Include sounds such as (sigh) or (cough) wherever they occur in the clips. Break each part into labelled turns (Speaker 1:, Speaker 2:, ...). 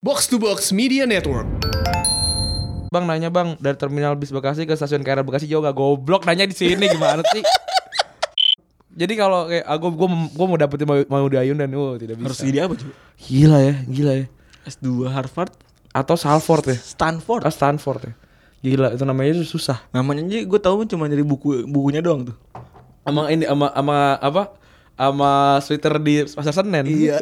Speaker 1: Box to Box Media Network.
Speaker 2: Bang nanya bang dari terminal bis Bekasi ke stasiun KRL Bekasi jauh gak goblok nanya di sini gimana sih? (laughs) Jadi kalau kayak ah, aku gue gue mau dapetin mau, mau dayun dan oh tidak bisa.
Speaker 3: Harus jadi apa coba?
Speaker 2: Gila ya, gila ya.
Speaker 3: S2 Harvard,
Speaker 2: Atau Salford ya?
Speaker 3: Stanford.
Speaker 2: Atau Stanford ya? Gila itu namanya itu susah.
Speaker 3: Namanya aja gue tahu cuma dari buku bukunya doang tuh.
Speaker 2: Ama ini ama ama apa? Ama sweater di pasar Senen.
Speaker 3: iya.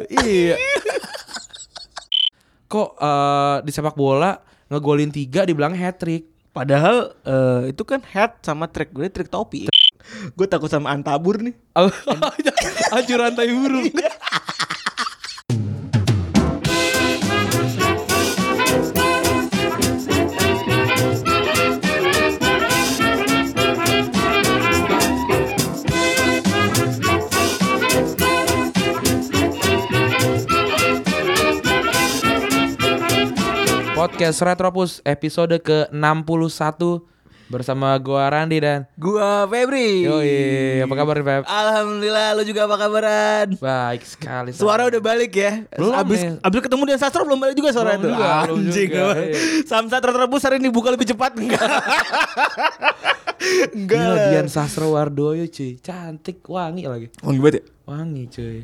Speaker 2: Kok eh, di sepak bola ngegolin tiga dibilang hat trick?
Speaker 3: (laughs)
Speaker 2: (laughs)
Speaker 3: Padahal eh, itu kan hat sama track gue track topi. Gue takut sama antabur nih.
Speaker 2: Hancur rantai
Speaker 3: Iya.
Speaker 2: burung. Podcast Retropus episode ke-61 bersama gua Randi dan
Speaker 3: Gua Febri.
Speaker 2: Yoi, apa kabar Feb?
Speaker 3: Alhamdulillah lu juga apa kabaran?
Speaker 2: Baik sekali.
Speaker 3: Suara udah balik ya.
Speaker 2: Belum
Speaker 3: abis
Speaker 2: nih.
Speaker 3: abis ketemu dengan Sastro belum balik juga suara
Speaker 2: Belum
Speaker 3: itu.
Speaker 2: juga, belum
Speaker 3: Anjing.
Speaker 2: juga,
Speaker 3: apa?
Speaker 2: iya.
Speaker 3: Samsat terus hari ini buka lebih cepat enggak? (laughs) enggak.
Speaker 2: Gila
Speaker 3: lah.
Speaker 2: Dian Sastrowardoyo cuy, cantik wangi lagi.
Speaker 3: Wangi banget ya?
Speaker 2: Wangi
Speaker 3: (laughs)
Speaker 2: cuy.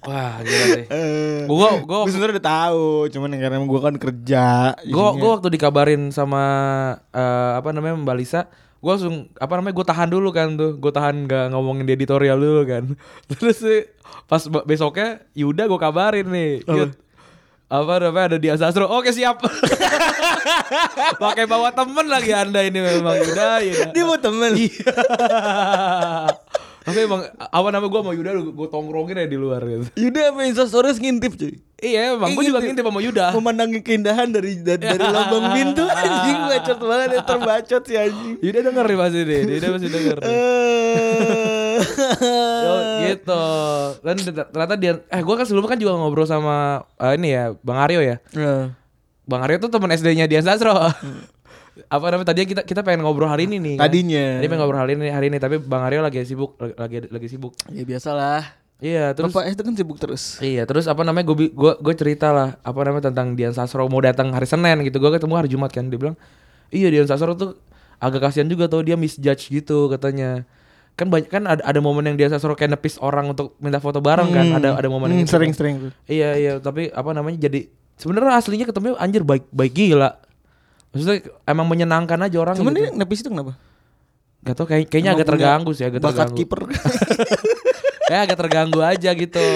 Speaker 2: Wah, gila deh.
Speaker 3: Eh.
Speaker 2: Gua gua
Speaker 3: Gue sebenernya udah tahu, cuman yang karena gue kan kerja.
Speaker 2: gua,
Speaker 3: jadinya.
Speaker 2: gua waktu dikabarin sama eh, apa namanya Mbak Lisa, gua langsung apa namanya gua tahan dulu kan tuh. Gua tahan nggak ngomongin di editorial dulu kan. (laughs) Terus sih, pas be- besoknya Yuda gua kabarin nih. Yud, apa namanya ada di Asastro. Oke, siap. (laughs) Pakai bawa temen lagi Anda ini memang Ya Yuda, Yuda.
Speaker 3: dia mau temen.
Speaker 2: Iya.
Speaker 3: Iya. (laughs)
Speaker 2: Tapi emang apa nama gue sama Yuda gue tongkrongin ya di luar gitu.
Speaker 3: Yuda apa Insta stories ngintip cuy.
Speaker 2: Iya emang gue
Speaker 3: Iya,
Speaker 2: juga
Speaker 3: gitu.
Speaker 2: ngintip sama Yuda.
Speaker 3: Memandangi keindahan dari dari, (laughs) dari lubang pintu anjing bacot banget ya terbacot si anjing.
Speaker 2: Yuda denger nih pasti deh, Yuda pasti denger. nih.
Speaker 3: Eh, (laughs)
Speaker 2: Yo, gitu. Dan ternyata dia eh gue kan sebelumnya kan juga ngobrol sama eh, ini ya Bang Aryo ya. Bang Aryo tuh teman SD-nya Dian Sastro. apa namanya tadinya kita kita pengen ngobrol hari ini nih. kan.
Speaker 3: Tadinya.
Speaker 2: Tadi pengen ngobrol hari ini hari ini tapi Bang Aryo lagi sibuk lagi lagi, lagi sibuk.
Speaker 3: Ya biasalah.
Speaker 2: Iya, terus
Speaker 3: Bapak SD kan sibuk terus.
Speaker 2: Iya, terus apa namanya gue gue gue cerita lah apa namanya tentang Dian Sastro mau datang hari Senin gitu. Gue ketemu hari Jumat kan dia bilang, "Iya, Dian Sastro tuh agak kasihan juga tuh dia misjudge gitu katanya." Kan banyak kan ada, ada momen yang Dian Sastro kayak nepis orang untuk minta foto bareng kan. Ada ada momen yang
Speaker 3: Hmm,
Speaker 2: gitu.
Speaker 3: sering-sering tuh.
Speaker 2: Iya, iya, tapi apa namanya jadi sebenarnya aslinya ketemu anjir baik baik gila. Maksudnya emang menyenangkan aja orang
Speaker 3: Cuman
Speaker 2: gitu.
Speaker 3: dia nepis itu kenapa?
Speaker 2: Gak tau kayak, kayaknya agak
Speaker 3: Emang punya
Speaker 2: terganggu sih, agak
Speaker 3: Bakat
Speaker 2: terganggu.
Speaker 3: kiper. (laughs)
Speaker 2: Kayak agak terganggu aja gitu.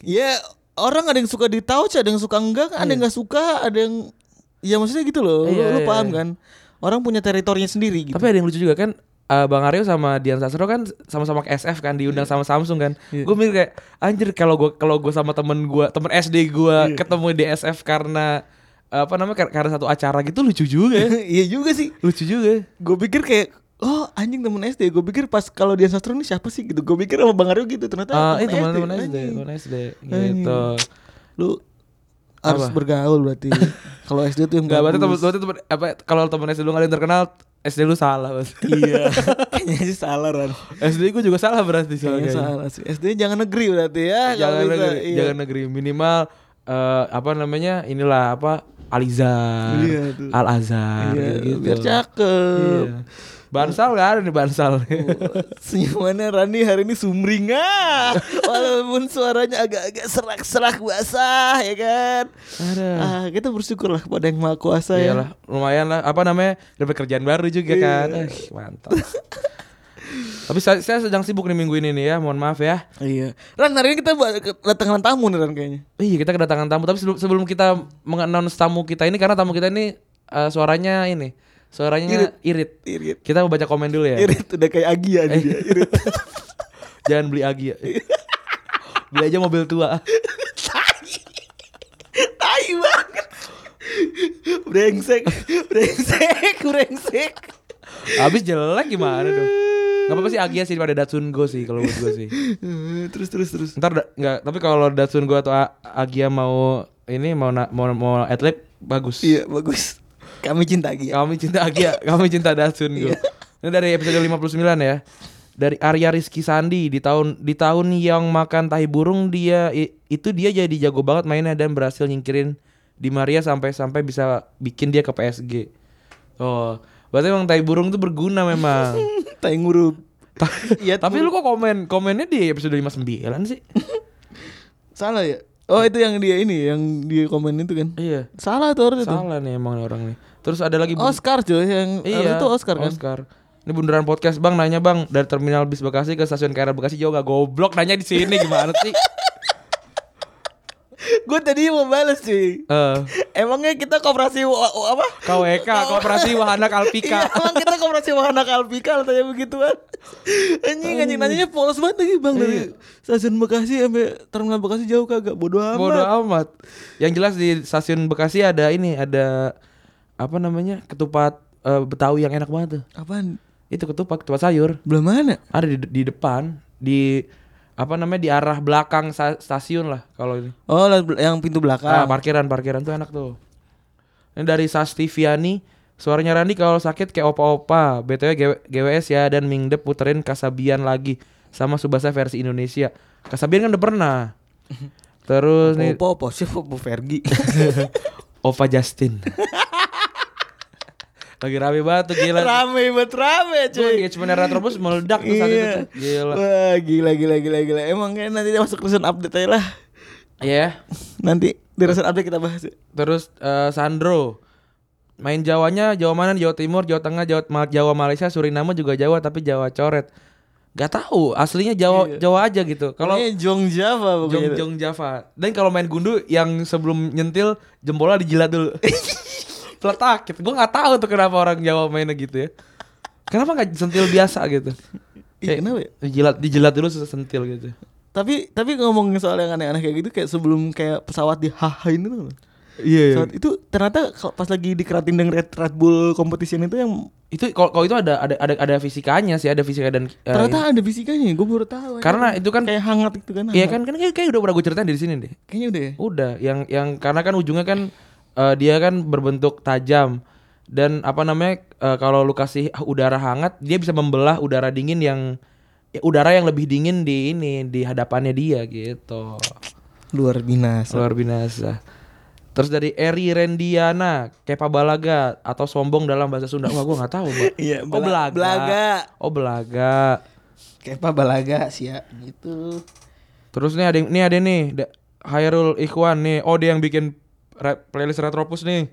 Speaker 3: Ya orang ada yang suka di touch, ada yang suka enggak, ada yang nggak suka, ada yang ya maksudnya gitu loh. Lu-
Speaker 2: Iya,
Speaker 3: lu,
Speaker 2: iya,
Speaker 3: paham
Speaker 2: iya.
Speaker 3: kan? Orang punya teritorinya sendiri gitu.
Speaker 2: Tapi ada yang lucu juga kan eh, Bang Aryo sama Dian Sastro kan sama-sama ke SF kan diundang
Speaker 3: Iya.
Speaker 2: sama Samsung kan. Gue mikir kayak anjir kalau gue kalau gue sama temen gue temen SD gue
Speaker 3: Iya.
Speaker 2: ketemu di SF karena eh, apa namanya kar- karena satu acara gitu lucu juga
Speaker 3: (laughs)
Speaker 2: ya.
Speaker 3: Iya juga sih.
Speaker 2: lucu juga. ya.
Speaker 3: Gue pikir kayak oh anjing temen SD. Gue pikir pas kalau dia sastro ini siapa sih gitu. Gue pikir sama Bang Aryo gitu. Ternyata
Speaker 2: Ah, eh
Speaker 3: temen
Speaker 2: teman-teman SD,
Speaker 3: anjing.
Speaker 2: teman SD gitu.
Speaker 3: Lu harus
Speaker 2: Apa?
Speaker 3: bergaul
Speaker 2: (laughs)
Speaker 3: berarti. kalau SD tuh yang
Speaker 2: Enggak berarti temen
Speaker 3: bagus.
Speaker 2: berarti temen apa kalau temen SD lu nggak ada yang terkenal SD lu salah Mas. (laughs)
Speaker 3: Iya. Kayaknya sih salah Ran.
Speaker 2: SD gue juga salah berarti
Speaker 3: Kayaknya
Speaker 2: soalnya.
Speaker 3: Iya, salah sih. SD jangan negeri berarti ya. kalau
Speaker 2: jangan
Speaker 3: bisa.
Speaker 2: negeri,
Speaker 3: Iya.
Speaker 2: jangan negeri minimal eh, apa namanya inilah apa Alizar,
Speaker 3: Iya, tuh.
Speaker 2: Al Azhar,
Speaker 3: Iya,
Speaker 2: gitu. Iya.
Speaker 3: biar cakep. (laughs) Oh,
Speaker 2: Bansal nggak ada nih bansal.
Speaker 3: Senyumannya Rani hari ini
Speaker 2: (laughs)
Speaker 3: sumringah Walaupun suaranya agak-agak serak-serak basah ya kan
Speaker 2: Ada.
Speaker 3: ah, Kita bersyukurlah kepada yang maha kuasa
Speaker 2: (laughs)
Speaker 3: ya.
Speaker 2: Iyalah, lumayan lah. Apa namanya dapat kerjaan baru juga
Speaker 3: Iya.
Speaker 2: kan. Eh,
Speaker 3: (laughs)
Speaker 2: mantap. Tapi saya, saya sedang sibuk nih minggu ini nih ya. Mohon maaf ya.
Speaker 3: ya Iya Ran hari ini kita buat kedatangan tamu nih Ran kayaknya
Speaker 2: Iya kita kedatangan tamu. Tapi sebelum, sebelum kita mengannounce tamu kita ini karena tamu kita ini eh, suaranya ini suaranya irit.
Speaker 3: Irit
Speaker 2: Kita mau baca komen dulu ya.
Speaker 3: Irit udah kayak Agi ya
Speaker 2: Iya.
Speaker 3: dia Irit
Speaker 2: Jangan beli Agi ya. beli aja mobil tua.
Speaker 3: Tai banget Brengsek Brengsek Brengsek
Speaker 2: Habis jelek gimana dong? Gak apa-apa sih Agi ya sih daripada Datsun Go sih kalau menurut gue sih.
Speaker 3: Eh, Terus terus terus
Speaker 2: Ntar da- nggak, tapi kalau Datsun Go atau A- Agia mau ini mau na- mau mau atlet bagus.
Speaker 3: Iya bagus Kami cinta Agi ya
Speaker 2: Kami cinta Agia, kami cinta Datsun Go. Ini dari episode 59 ya. dari Arya Rizky Sandi di tahun di tahun yang makan tahi burung dia i- itu dia jadi jago banget mainnya dan berhasil nyingkirin di Maria sampai sampai bisa bikin dia ke PSG. Oh, berarti emang tahi burung tuh berguna memang.
Speaker 3: Tai ngurup.
Speaker 2: Ta-
Speaker 3: (laughs) Iya,
Speaker 2: Tapi lu kok komen komennya di episode 59 sih?
Speaker 3: Salah ya? Oh itu yang dia ini yang dia komen itu kan.
Speaker 2: iya.
Speaker 3: Salah tuh orang itu.
Speaker 2: Salah nih emang nih orang nih. Terus ada lagi Bun-
Speaker 3: Oscar cuy yang harusnya itu Oscar kan.
Speaker 2: Iya. Ini bundaran podcast Bang nanya Bang dari terminal bis Bekasi ke stasiun KRL Bekasi jauh gak goblok nanya di sini gimana
Speaker 3: (laughs)
Speaker 2: sih?
Speaker 3: Gue tadi mau balas cuy.
Speaker 2: Eh,
Speaker 3: Emangnya kita koperasi wa- wa- apa?
Speaker 2: KWK Koperasi Wahana Kalpika.
Speaker 3: Iya, emang kita koperasi wahana Kalpika tanya begituan. Anjing anjing nanyanya polos banget lagi Bang dari
Speaker 2: Iya.
Speaker 3: stasiun Bekasi sampai terminal Bekasi jauh kagak bodoh amat.
Speaker 2: Bodoh amat. Yang jelas di stasiun Bekasi ada ini ada apa namanya ketupat eh, Betawi yang enak banget tuh.
Speaker 3: Apaan?
Speaker 2: Itu ketupat ketupat sayur
Speaker 3: Belah mana?
Speaker 2: ada di, di depan di apa namanya di arah belakang sa- stasiun lah kalau ini.
Speaker 3: Oh, lah, bel- yang
Speaker 2: Ah,
Speaker 3: pintu belakang.
Speaker 2: parkiran parkiran tuh enak tuh. Ini dari Sastiviani, suaranya Randi kalau sakit kayak opa-opa. BTW G- GWS ya dan Mingdep puterin Kasabian lagi sama Subasa versi Indonesia. Kasabian kan udah
Speaker 3: (laughs)
Speaker 2: pernah. Terus nih
Speaker 3: Opo, opo, siapa opo
Speaker 2: (laughs)
Speaker 3: Fergi?
Speaker 2: Ova Justin. (laughs) lagi rame banget tuh gila.
Speaker 3: rame banget rame
Speaker 2: Tuh
Speaker 3: cuy. Iya.
Speaker 2: engagement Retrobus meledak tuh saat itu tuh. Gila.
Speaker 3: Wah, gila gila gila gila. Emang kayak nanti dia masuk recent update aja lah.
Speaker 2: Ya.
Speaker 3: Nanti di recent update kita bahas. ya.
Speaker 2: Terus eh, Sandro main Jawanya Jawa mana Jawa Timur Jawa Tengah Jawa Ma- Jawa Malaysia Suriname juga Jawa tapi Jawa coret Gak tahu aslinya Jawa Jawa aja gitu kalau
Speaker 3: Iya. Pokoknya gitu. Jong Java
Speaker 2: Jong
Speaker 3: pokoknya.
Speaker 2: Jong Java dan kalau main gundu yang sebelum nyentil jempolnya dijilat
Speaker 3: (laughs)
Speaker 2: dulu peletak gitu gue nggak tahu tuh kenapa orang Jawa mainnya gitu ya kenapa nggak sentil biasa gitu
Speaker 3: Ih, kenapa ya?
Speaker 2: dijilat dijilat dulu susah sentil gitu
Speaker 3: Tapi tapi ngomongin soal yang aneh-aneh kayak gitu kayak sebelum kayak pesawat di hahain itu loh.
Speaker 2: iya
Speaker 3: Pesawat itu ternyata kalau pas lagi di keratin dengan Red, Red Bull competition itu yang
Speaker 2: itu kalau kalau itu ada ada ada ada fisikanya sih ada fisika dan eh,
Speaker 3: ternyata ada fisikanya, gue baru tahu. aja.
Speaker 2: Karena itu kan-
Speaker 3: kayak hangat gitu kan.
Speaker 2: Iya
Speaker 3: hangat.
Speaker 2: kan kan kayak, kayak udah pernah gue ceritain di sini deh.
Speaker 3: Kayaknya udah ya.
Speaker 2: Udah, yang yang karena kan ujungnya kan eh, dia kan berbentuk tajam dan apa namanya eh, kalau lu kasih udara hangat dia bisa membelah udara dingin yang ya, udara yang lebih dingin di ini di hadapannya dia gitu.
Speaker 3: Luar binasa.
Speaker 2: Luar biasa. Terus dari Eri Rendiana, Kepa Balaga atau sombong dalam bahasa Sunda. Wah, gua nggak tahu, Mbak.
Speaker 3: (laughs) Iya,
Speaker 2: oh, belaga.
Speaker 3: bela- belaga.
Speaker 2: Oh, belaga.
Speaker 3: Kayak apa balaga sih ya gitu.
Speaker 2: Terus nih ada yang- nih ada nih da- Hairul Ikhwan nih. Oh dia yang bikin re- playlist Retropus nih.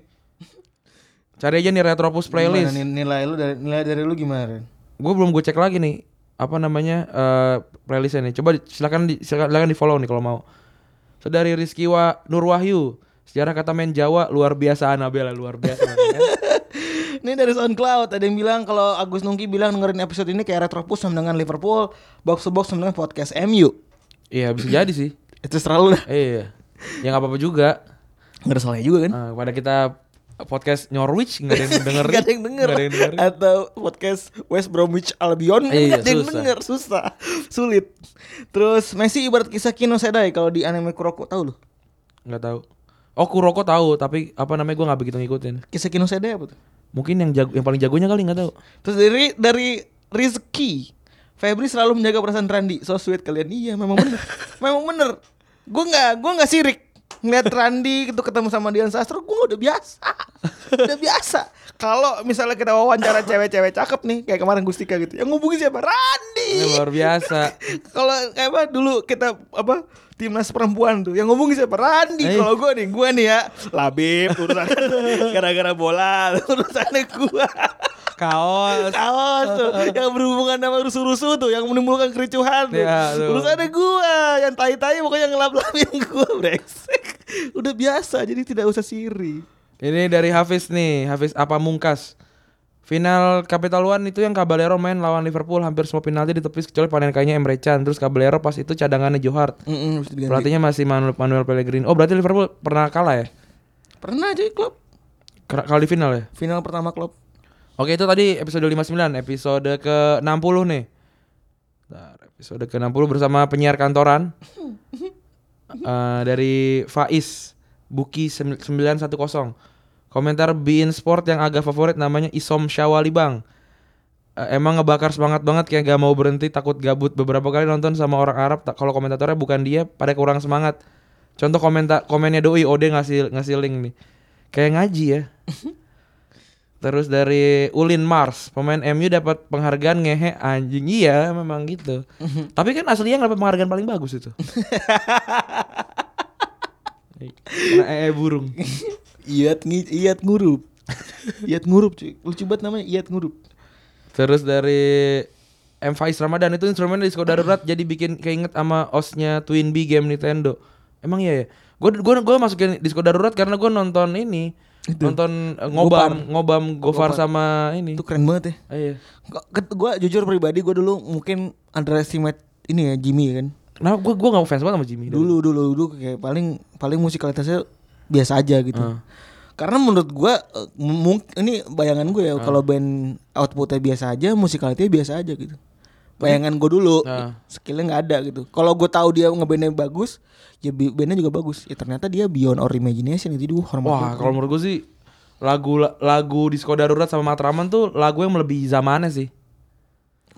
Speaker 2: Cari aja nih Retropus
Speaker 3: Gimana
Speaker 2: playlist.
Speaker 3: nih nilai lu dari nilai dari lu gimana? Ren?
Speaker 2: Gue belum gue cek lagi nih apa namanya eh playlistnya nih. Coba di- silakan di, silakan, silakan di follow nih kalau mau. Saudari Rizky Wa Nur Wahyu. Sejarah kata main Jawa luar biasa Anabella luar
Speaker 3: (laughs)
Speaker 2: biasa. kan?
Speaker 3: Ini dari SoundCloud ada yang bilang kalau Agus Nungki bilang dengerin episode ini kayak Retropus sama dengan Liverpool, box to box sama dengan podcast MU.
Speaker 2: Iya bisa jadi sih.
Speaker 3: Itu selalu dah.
Speaker 2: Iya. Ya nggak apa-apa juga.
Speaker 3: Nggak ada salahnya juga kan?
Speaker 2: Eh, pada kita podcast Norwich nggak ada
Speaker 3: (laughs)
Speaker 2: yang denger.
Speaker 3: Nggak ada yang denger.
Speaker 2: Nggak ada yang denger.
Speaker 3: Atau podcast West Bromwich Albion
Speaker 2: Iya,
Speaker 3: nggak ada yang
Speaker 2: susah.
Speaker 3: denger, susah, sulit. Terus Messi ibarat kisah Kino Sedai kalau di anime Kuroko tahu lu?
Speaker 2: nggak tahu oh Kuroko tahu tapi apa namanya gua nggak begitu ngikutin
Speaker 3: Kisah Kino Sedai apa tuh?
Speaker 2: mungkin yang jago yang paling jagonya kali nggak tahu
Speaker 3: Terus dari dari Rizky, Febri selalu menjaga perasaan Randi. So sweet kalian. Iya, memang
Speaker 2: (laughs)
Speaker 3: bener. memang bener. Gue nggak gue nggak sirik ngeliat Randi gitu ketemu sama Dian Sastro, gue udah biasa, udah biasa. Kalau misalnya kita wawancara cewek-cewek cakep nih, kayak kemarin Gustika gitu, yang ngubungi siapa?
Speaker 2: Ini
Speaker 3: Randi.
Speaker 2: luar biasa
Speaker 3: Kalau kayak apa dulu kita apa timnas perempuan tuh, yang ngubungi siapa? Randi.
Speaker 2: Eh.
Speaker 3: Kalau gue nih, gue nih ya, labib urusan (laughs) gara-gara bola, urusannya gue
Speaker 2: kaos
Speaker 3: kaos tuh yang berhubungan sama rusuh-rusuh tuh yang menimbulkan kericuhan tuh.
Speaker 2: Iya, tuh.
Speaker 3: Urusannya gua yang tai-tai pokoknya yang ngelap-lapin (laughs) gua brengsek. Udah biasa jadi tidak usah siri.
Speaker 2: ini dari Hafiz nih Hafiz apa mungkas Final Capital One itu yang Caballero main lawan Liverpool hampir semua penalti ditepis kecuali panenkannya Emre Can terus Caballero pas itu cadangannya Johar
Speaker 3: Heeh, mesti diganti.
Speaker 2: pelatihnya masih Manuel, Manuel Pellegrini oh berarti Liverpool pernah kalah ya
Speaker 3: Pernah cuy klub
Speaker 2: Kera- kalah di final ya
Speaker 3: final pertama klub.
Speaker 2: Oke itu tadi episode 59 Episode ke 60 nih Bentar, Episode ke 60 bersama penyiar kantoran Eh, Dari Faiz Buki sem- 910 Komentar Bein Sport yang agak favorit namanya Isom Syawali Bang eh, emang ngebakar semangat banget kayak gak mau berhenti takut gabut beberapa kali nonton sama orang Arab tak kalau komentatornya bukan dia pada kurang semangat contoh komentar komennya doi Ode ngasih ngasih link nih kayak ngaji ya terus dari Ulin Mars pemain MU dapat penghargaan ngehe anjing iya memang gitu
Speaker 3: Mhm.
Speaker 2: tapi kan aslinya nggak dapat penghargaan paling bagus
Speaker 3: (laughs)
Speaker 2: itu Kena ee burung
Speaker 3: Iat ngi- iat ngurup. (laughs) iat ngurup cuy. Lucu banget namanya iat ngurup.
Speaker 2: Terus dari M Faiz Ramadan itu instrumen diskon darurat jadi bikin keinget sama osnya Twin B game Nintendo. Emang iya ya. Gue gua gua masukin diskon darurat karena gue nonton ini. Nonton eh, ngobam, ngobam Gofar sama ini.
Speaker 3: Itu keren banget ya.
Speaker 2: Ah, iya.
Speaker 3: Gue jujur pribadi gue dulu mungkin underestimate ini ya Jimmy ya kan.
Speaker 2: Kenapa gue gua gak fans banget sama Jimmy
Speaker 3: Dulu dulu dulu kayak paling paling musikalitasnya biasa aja gitu.
Speaker 2: Ah.
Speaker 3: Karena menurut gue ini bayangan gue ya
Speaker 2: Ah.
Speaker 3: kalau band outputnya biasa aja, musikalitasnya biasa aja gitu. Bayangan gue dulu,
Speaker 2: Ah.
Speaker 3: skillnya nggak ada gitu. Kalau gue tahu dia ngebandnya bagus, ya bi- bandnya juga bagus. Ya ternyata dia beyond our imagination itu gue hormat.
Speaker 2: Wah, kalau menurut gue sih lagu lagu diskon darurat sama Matraman tuh lagu yang melebihi zamannya sih.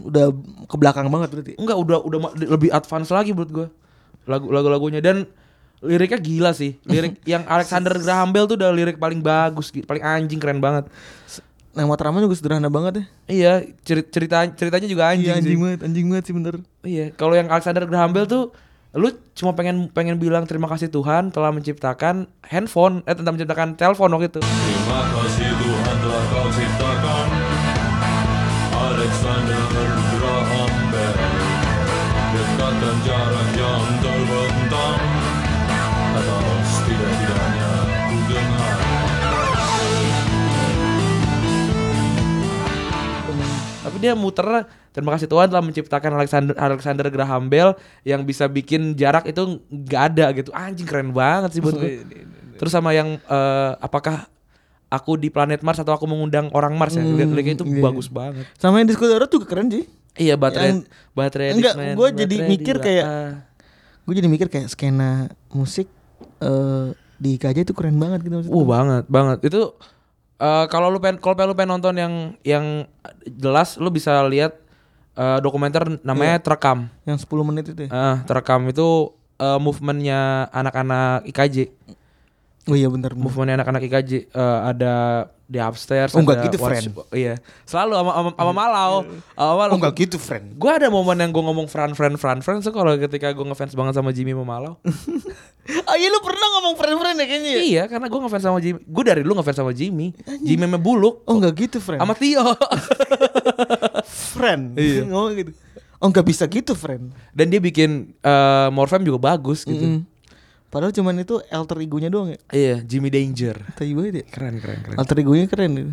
Speaker 3: udah ke belakang banget berarti.
Speaker 2: Enggak, udah udah ma- lebih advance lagi menurut gue lagu-lagu-lagunya dan liriknya gila sih (laughs) lirik yang Alexander Graham Bell tuh udah lirik paling bagus gi- paling anjing keren banget
Speaker 3: Nama Trama Nah, juga sederhana banget ya.
Speaker 2: iya ceri- cerita ceritanya juga Iya, anjing, sih
Speaker 3: banget, anjing banget sih bener.
Speaker 2: iya kalau yang Alexander Graham Bell tuh lu cuma pengen pengen bilang terima kasih Tuhan telah menciptakan handphone eh tentang menciptakan telepon waktu itu
Speaker 1: Terima kasih Tuhan telah kau ciptakan Alexander Graham Bell Dekat dan jarak yang terbentang Kata setidak-tidaknya ku dengar
Speaker 2: tapi dia muter terima kasih Tuhan telah menciptakan Alexander Alexander Graham Bell yang bisa bikin jarak itu nggak ada gitu anjing keren banget
Speaker 3: (laughs)
Speaker 2: sih buat gue terus sama yang eh, apakah aku di planet Mars atau aku mengundang orang Mars ya liriknya
Speaker 3: Hmm,
Speaker 2: itu bagus banget
Speaker 3: Sama yang disco darurat juga keren sih.
Speaker 2: iya baterai
Speaker 3: iya. Yang-
Speaker 2: baterai
Speaker 3: Enggak,
Speaker 2: Discman,
Speaker 3: gua jadi
Speaker 2: baterai
Speaker 3: mikir
Speaker 2: di-
Speaker 3: kayak-
Speaker 2: ah.
Speaker 3: Gue jadi mikir kayak skena musik eh di KJ itu keren banget gitu maksudnya.
Speaker 2: Uh banget banget itu eh, kalau lu pengen kalau pengen lu pengen nonton yang yang jelas lu bisa lihat eh, dokumenter
Speaker 3: Iya.
Speaker 2: namanya terekam
Speaker 3: Yang 10 menit itu ya.
Speaker 2: Ah, terekam itu eh, movementnya anak-anak IKJ,
Speaker 3: Oh iya bentar. bentar.
Speaker 2: movementnya anak-anak IKJ eh, ada di upstairs.
Speaker 3: Oh,
Speaker 2: ada
Speaker 3: enggak gitu,
Speaker 2: watch-
Speaker 3: friend.
Speaker 2: Iya, selalu sama sama, sama Malau, Eh, sama Malau.
Speaker 3: Oh enggak gitu, friend.
Speaker 2: Gue ada momen yang gue ngomong friend friend friend friend so kalau ketika gue ngefans banget sama Jimmy sama
Speaker 3: (laughs)
Speaker 2: Malau.
Speaker 3: Oh iya lu pernah ngomong friend-friend ya kayaknya. ya?
Speaker 2: iya, karena gue ngefans sama Jimmy. Gue dari dulu ngefans sama Jimmy. Jimmy sama Buluk,
Speaker 3: Oh enggak gitu, friend.
Speaker 2: sama
Speaker 3: (laughs)
Speaker 2: Tio.
Speaker 3: friend.
Speaker 2: (laughs) Iya.
Speaker 3: ngomong gitu. Oh enggak bisa gitu, friend.
Speaker 2: Dan dia bikin eh, Morfem juga bagus gitu.
Speaker 3: Mm. Padahal cuman itu alter egonya doang ya.
Speaker 2: Iya, Jimmy Danger.
Speaker 3: Tai banget ya.
Speaker 2: Keren keren keren.
Speaker 3: Alter egonya keren gitu.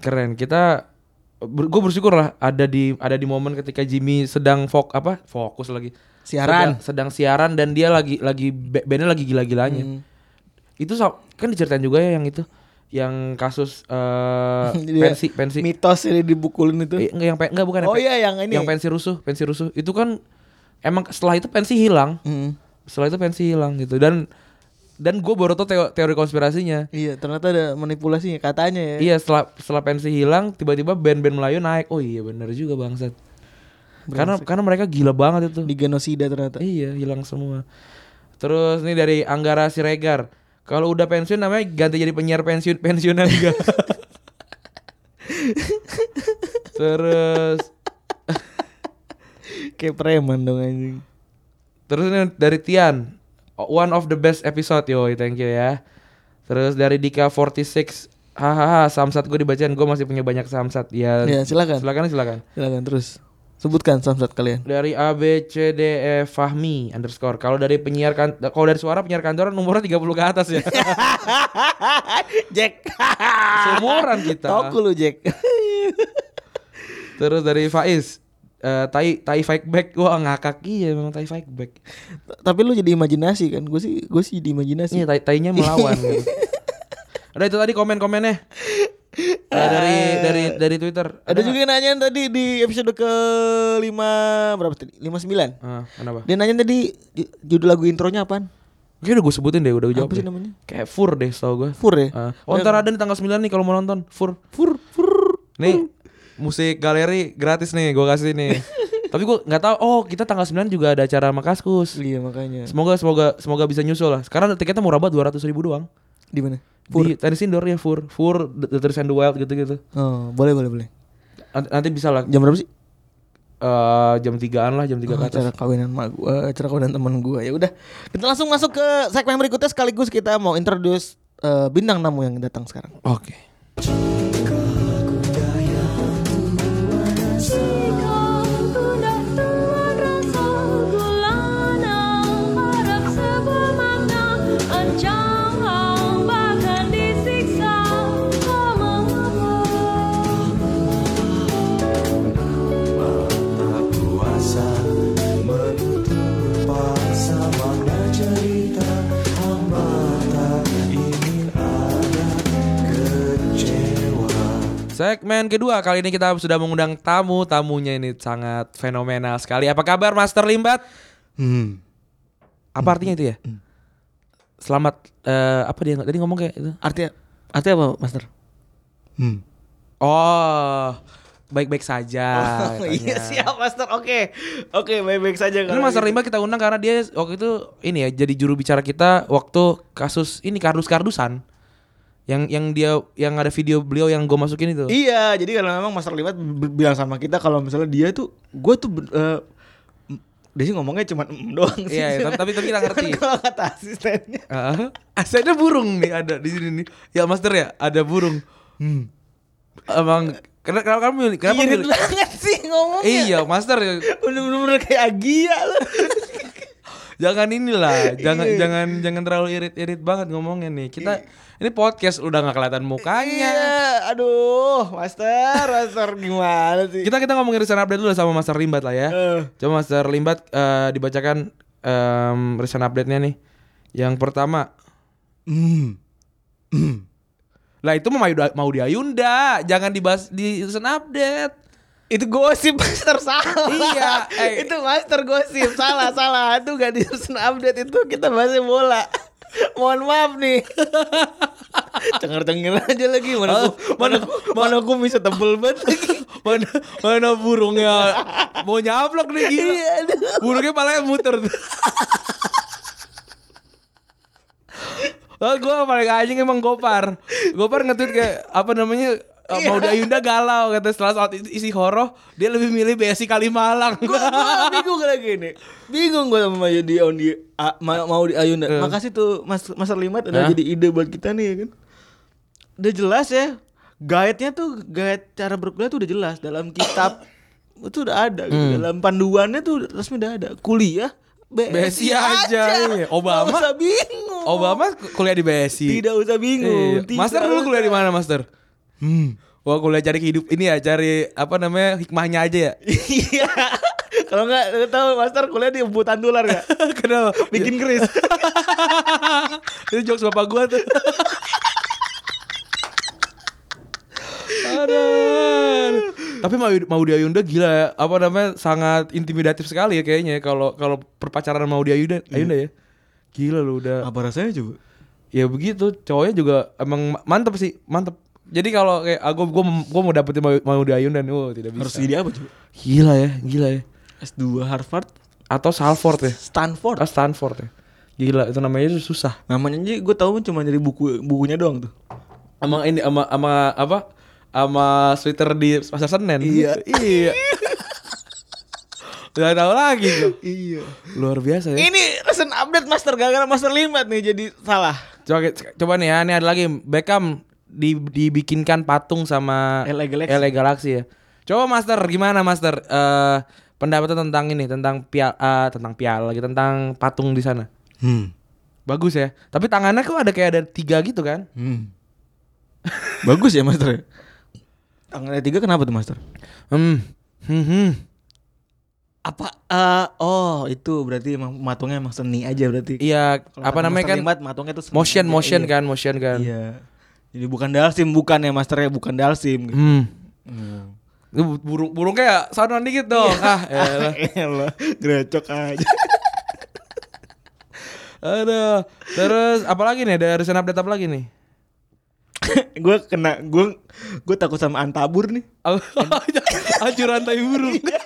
Speaker 2: keren kita gue bersyukur lah ada di ada di momen ketika Jimmy sedang fok apa fokus lagi sedang,
Speaker 3: Siaran.
Speaker 2: sedang siaran dan dia lagi lagi ba- bandnya lagi gila-gilanya
Speaker 3: Hmm.
Speaker 2: itu sa- kan diceritain juga ya yang itu yang kasus
Speaker 3: (laughs)
Speaker 2: eh,
Speaker 3: Jadi ya,
Speaker 2: pensi pensi
Speaker 3: Mitos ini dibukulin itu.
Speaker 2: Eh, enggak yang pe- enggak bukan yang
Speaker 3: Oh
Speaker 2: pe-
Speaker 3: iya yang ini.
Speaker 2: yang pensi rusuh pensi rusuh itu kan emang setelah itu pensi hilang
Speaker 3: Mm.
Speaker 2: setelah itu pensi hilang gitu dan dan gue baru tau teo- teori konspirasinya
Speaker 3: Iya, ternyata ada manipulasinya katanya ya.
Speaker 2: Iya setelah setelah pensi hilang tiba-tiba band-band Melayu naik. Oh iya bener juga bangsat. Karena karena mereka gila banget itu.
Speaker 3: Di genosida ternyata.
Speaker 2: Iya hilang semua. Terus nih dari Anggara Siregar. Kalau udah pensiun namanya ganti jadi penyiar pensiun pensiunan (laughs) juga. terus
Speaker 3: Kayak preman dong anjing.
Speaker 2: terus ini dari Tian. One of the best episode yo, thank you ya. Terus dari Dika 46 Hahaha, samsat gue dibacain, gue masih punya banyak samsat ya.
Speaker 3: Ya, silakan.
Speaker 2: Silakan silakan.
Speaker 3: Silakan terus. Sebutkan samsat kalian.
Speaker 2: Dari A B C D E Fahmi underscore. Kalau dari penyiar kan kalau dari suara penyiar kantoran umurnya 30 ke atas
Speaker 3: (laughs)
Speaker 2: ya.
Speaker 3: Jack.
Speaker 2: Seumuran kita.
Speaker 3: Toku lu Jack.
Speaker 2: Terus dari Faiz eh tai tai fight back wah ngakak iya memang tai fight back.
Speaker 3: (laughs) Tapi lu jadi imajinasi kan? Gue sih gue sih jadi
Speaker 2: Iya
Speaker 3: imajinasi.
Speaker 2: tai tainya
Speaker 3: (laughs)
Speaker 2: melawan. gitu. Udah itu tadi komen-komennya. Eh, dari dari dari Twitter.
Speaker 3: Ada juga yang nanya tadi di episode ke lima berapa tadi? 59.
Speaker 2: Ah, kenapa?
Speaker 3: Dia nanya tadi ju- judul lagu intronya apaan?
Speaker 2: Kayaknya udah gue sebutin deh, udah gue jawab.
Speaker 3: Apa sih
Speaker 2: deh.
Speaker 3: namanya?
Speaker 2: Kayak fur deh Ah. setau gue.
Speaker 3: Fur ya?
Speaker 2: Ah. oh ntar ada nih tanggal 9 nih kalau mau nonton. Fur.
Speaker 3: Fur fur.
Speaker 2: Nih musik galeri gratis nih gue kasih nih.
Speaker 3: (laughs)
Speaker 2: Tapi gue nggak tahu. Oh kita tanggal 9 juga ada acara Makaskus.
Speaker 3: Iya makanya.
Speaker 2: Semoga semoga semoga bisa nyusul lah. Sekarang tiketnya murah banget dua ratus ribu doang.
Speaker 3: Di mana?
Speaker 2: Di tenis indoor ya Fur, Fur, The, the Trees and the Wild gitu-gitu.
Speaker 3: Oh, boleh boleh boleh.
Speaker 2: Nanti, nanti bisa lah
Speaker 3: Jam berapa sih?
Speaker 2: eh, jam tigaan lah jam tiga
Speaker 3: Iya. Oh,
Speaker 2: ke atas.
Speaker 3: acara kawinan mak gua, acara kawinan teman gua. Ya udah, kita langsung masuk ke segmen berikutnya sekaligus kita mau introduce eh, bintang tamu yang datang sekarang.
Speaker 2: Oke. Segmen kedua kali ini kita sudah mengundang tamu. Tamunya ini sangat fenomenal sekali. Apa kabar Master Limbat?
Speaker 3: Hmm.
Speaker 2: Apa artinya itu ya?
Speaker 3: Mm.
Speaker 2: Selamat eh, apa dia tadi ngomong kayak itu?
Speaker 3: Artinya artinya apa, Master? Hmm.
Speaker 2: Oh, baik-baik saja.
Speaker 3: iya
Speaker 2: katanya.
Speaker 3: siap, Master. Oke. Oke, baik-baik saja
Speaker 2: Ini
Speaker 3: kalau.
Speaker 2: Master
Speaker 3: gitu.
Speaker 2: Limbat kita undang karena dia waktu itu ini ya jadi juru bicara kita waktu kasus ini kardus-kardusan. Yang yang dia yang ada video beliau yang gue masukin itu.
Speaker 3: Iya, jadi kalau memang Master Limat b- bilang sama kita kalau misalnya dia tuh gua tuh ben- eh, m- dia sih ngomongnya cuma mm doang sih.
Speaker 2: Iya, iya, tapi- tapi- tapi kita ngerti.
Speaker 3: Cuman (laughs) kalau kata asistennya.
Speaker 2: Heeh. ada burung nih ada di sini nih. Ya Master ya, ada burung. Emang kenapa kenapa kamu milih- kenapa
Speaker 3: Hmm. Irit
Speaker 2: milih-
Speaker 3: banget sih ngomongnya.
Speaker 2: Iya, Master ya.
Speaker 3: Bener-bener kayak Agia loh.
Speaker 2: (laughs) Jangan
Speaker 3: (laughs)
Speaker 2: inilah, jangan
Speaker 3: Iya.
Speaker 2: jangan jangan terlalu irit-irit banget ngomongnya nih. Kita ini podcast udah nggak kelihatan mukanya.
Speaker 3: Iya, aduh, Master, Master gimana sih?
Speaker 2: Kita kita ngomongin recent update dulu sama Master Limbat lah ya.
Speaker 3: Eh.
Speaker 2: Coba Master Limbat eh, dibacakan em, recent update-nya nih. Yang pertama, lah itu mau mau di Ayunda, jangan dibahas di recent update.
Speaker 3: Itu gosip Master salah.
Speaker 2: Iya, eh.
Speaker 3: itu Master gosip salah salah. Itu gak di recent update itu kita bahasnya bola. Mohon maaf nih. Cengar-cengir aja lagi mana
Speaker 2: Oh,
Speaker 3: aku, mana aku, mana aku bisa tebel banget lagi. (laughs)
Speaker 2: mana (laughs) mana burungnya mau nyaplok nih gila.
Speaker 3: Iya, aduh.
Speaker 2: Burungnya palanya muter. Oh, gue paling anjing emang Gopar. Gopar nge-tweet kayak apa namanya eh,
Speaker 3: Iya.
Speaker 2: Mauda Yunda galau kata setelah saat itu isi horor dia lebih milih BSI Kalimalang.
Speaker 3: Gua, gua bingung lagi nih. Bingung gua sama Mayu di on di A- Ma- mau di Ayunda. Makasih tuh Mas Mas Limat udah
Speaker 2: Eh. Hah?
Speaker 3: jadi ide buat kita nih ya kan. Udah jelas ya. Guide-nya tuh guide cara berkuliah tuh udah jelas dalam kitab (coughs) itu udah ada gitu.
Speaker 2: Hmm.
Speaker 3: Dalam panduannya tuh resmi udah ada. Kuliah
Speaker 2: BSI aja, iya. Obama-
Speaker 3: Nggak usah bingung.
Speaker 2: (laughs) Obama kuliah di BSI.
Speaker 3: tidak usah bingung.
Speaker 2: Iya. Master dulu kuliah di mana, Master? Hmm. Wah, kuliah cari hidup ini ya, cari apa namanya hikmahnya aja
Speaker 3: (laughs)
Speaker 2: ya.
Speaker 3: (laughs) Iya. Kalau nggak lu tahu Master kuliah di Butan Tular
Speaker 2: (laughs)
Speaker 3: enggak?
Speaker 2: Kenapa?
Speaker 3: Bikin keris.
Speaker 2: Itu jokes bapak gua tuh. Aduh. Tapi mau mau dia Ayunda gila ya. Apa namanya? Sangat intimidatif sekali ya kayaknya ya kalau kalau perpacaran mau dia Ayunda, Ayunda ya. Gila lu udah.
Speaker 3: Apa rasanya coba?
Speaker 2: Ya begitu, cowoknya juga emang ma- mantep sih, mantep. Jadi kalau kayak aku gua gua mau dapetin mau, mau dia Ayunda nih, oh tidak bisa.
Speaker 3: Harus jadi apa coba?
Speaker 2: Gila ya, gila ya.
Speaker 3: S2 Harvard,
Speaker 2: Atau Salford ya.
Speaker 3: Stanford.
Speaker 2: Atau Stanford ya. Gila, itu namanya susah.
Speaker 3: Ah. Namanya aja gue tahu cuma dari buku bukunya doang tuh.
Speaker 2: Ama ini ama ama apa? Ama sweater di pasar Senen. (laughs)
Speaker 3: (laughs) Iya.
Speaker 2: iya. Gak tahu lagi tuh.
Speaker 3: Iya.
Speaker 2: Luar biasa ya.
Speaker 3: Ini recent update Master gara-gara Master Limat nih jadi salah.
Speaker 2: Coba, coba nih ya, ini ada lagi Beckham di, dibikinkan patung sama
Speaker 3: LA Galaxy.
Speaker 2: ya. Coba Master, gimana Master? Eh pendapatnya tentang ini, tentang piala, tentang piala, lagi tentang patung di sana.
Speaker 3: Hmm.
Speaker 2: Bagus ya. Tapi tangannya kok ada kayak ada tiga gitu kan?
Speaker 3: Hmm. (laughs) Bagus ya Master. Tangannya tiga kenapa tuh Master?
Speaker 2: Hmm. Hmm. hmm.
Speaker 3: Apa? eh, oh itu berarti emang matungnya emang seni aja berarti.
Speaker 2: Iya,
Speaker 3: Kalau
Speaker 2: apa
Speaker 3: kata
Speaker 2: namanya
Speaker 3: Master
Speaker 2: kan?
Speaker 3: Limat, matungnya tuh seni
Speaker 2: Motion,
Speaker 3: aja,
Speaker 2: motion
Speaker 3: iya.
Speaker 2: kan, motion kan.
Speaker 3: Iya. Jadi bukan dalsim bukan ya Masternya bukan dalsim. (laughs) gitu.
Speaker 2: Hmm. Lu bu- Burung burung kayak sound dikit dong.
Speaker 3: Iya.
Speaker 2: ah, elah.
Speaker 3: Elah, grecok aja.
Speaker 2: Aduh. Terus apalagi nih? Ada recent update apa lagi nih?
Speaker 3: gue kena gue gue takut sama antabur nih
Speaker 2: (laughs) Hancur rantai burung.
Speaker 3: Iya.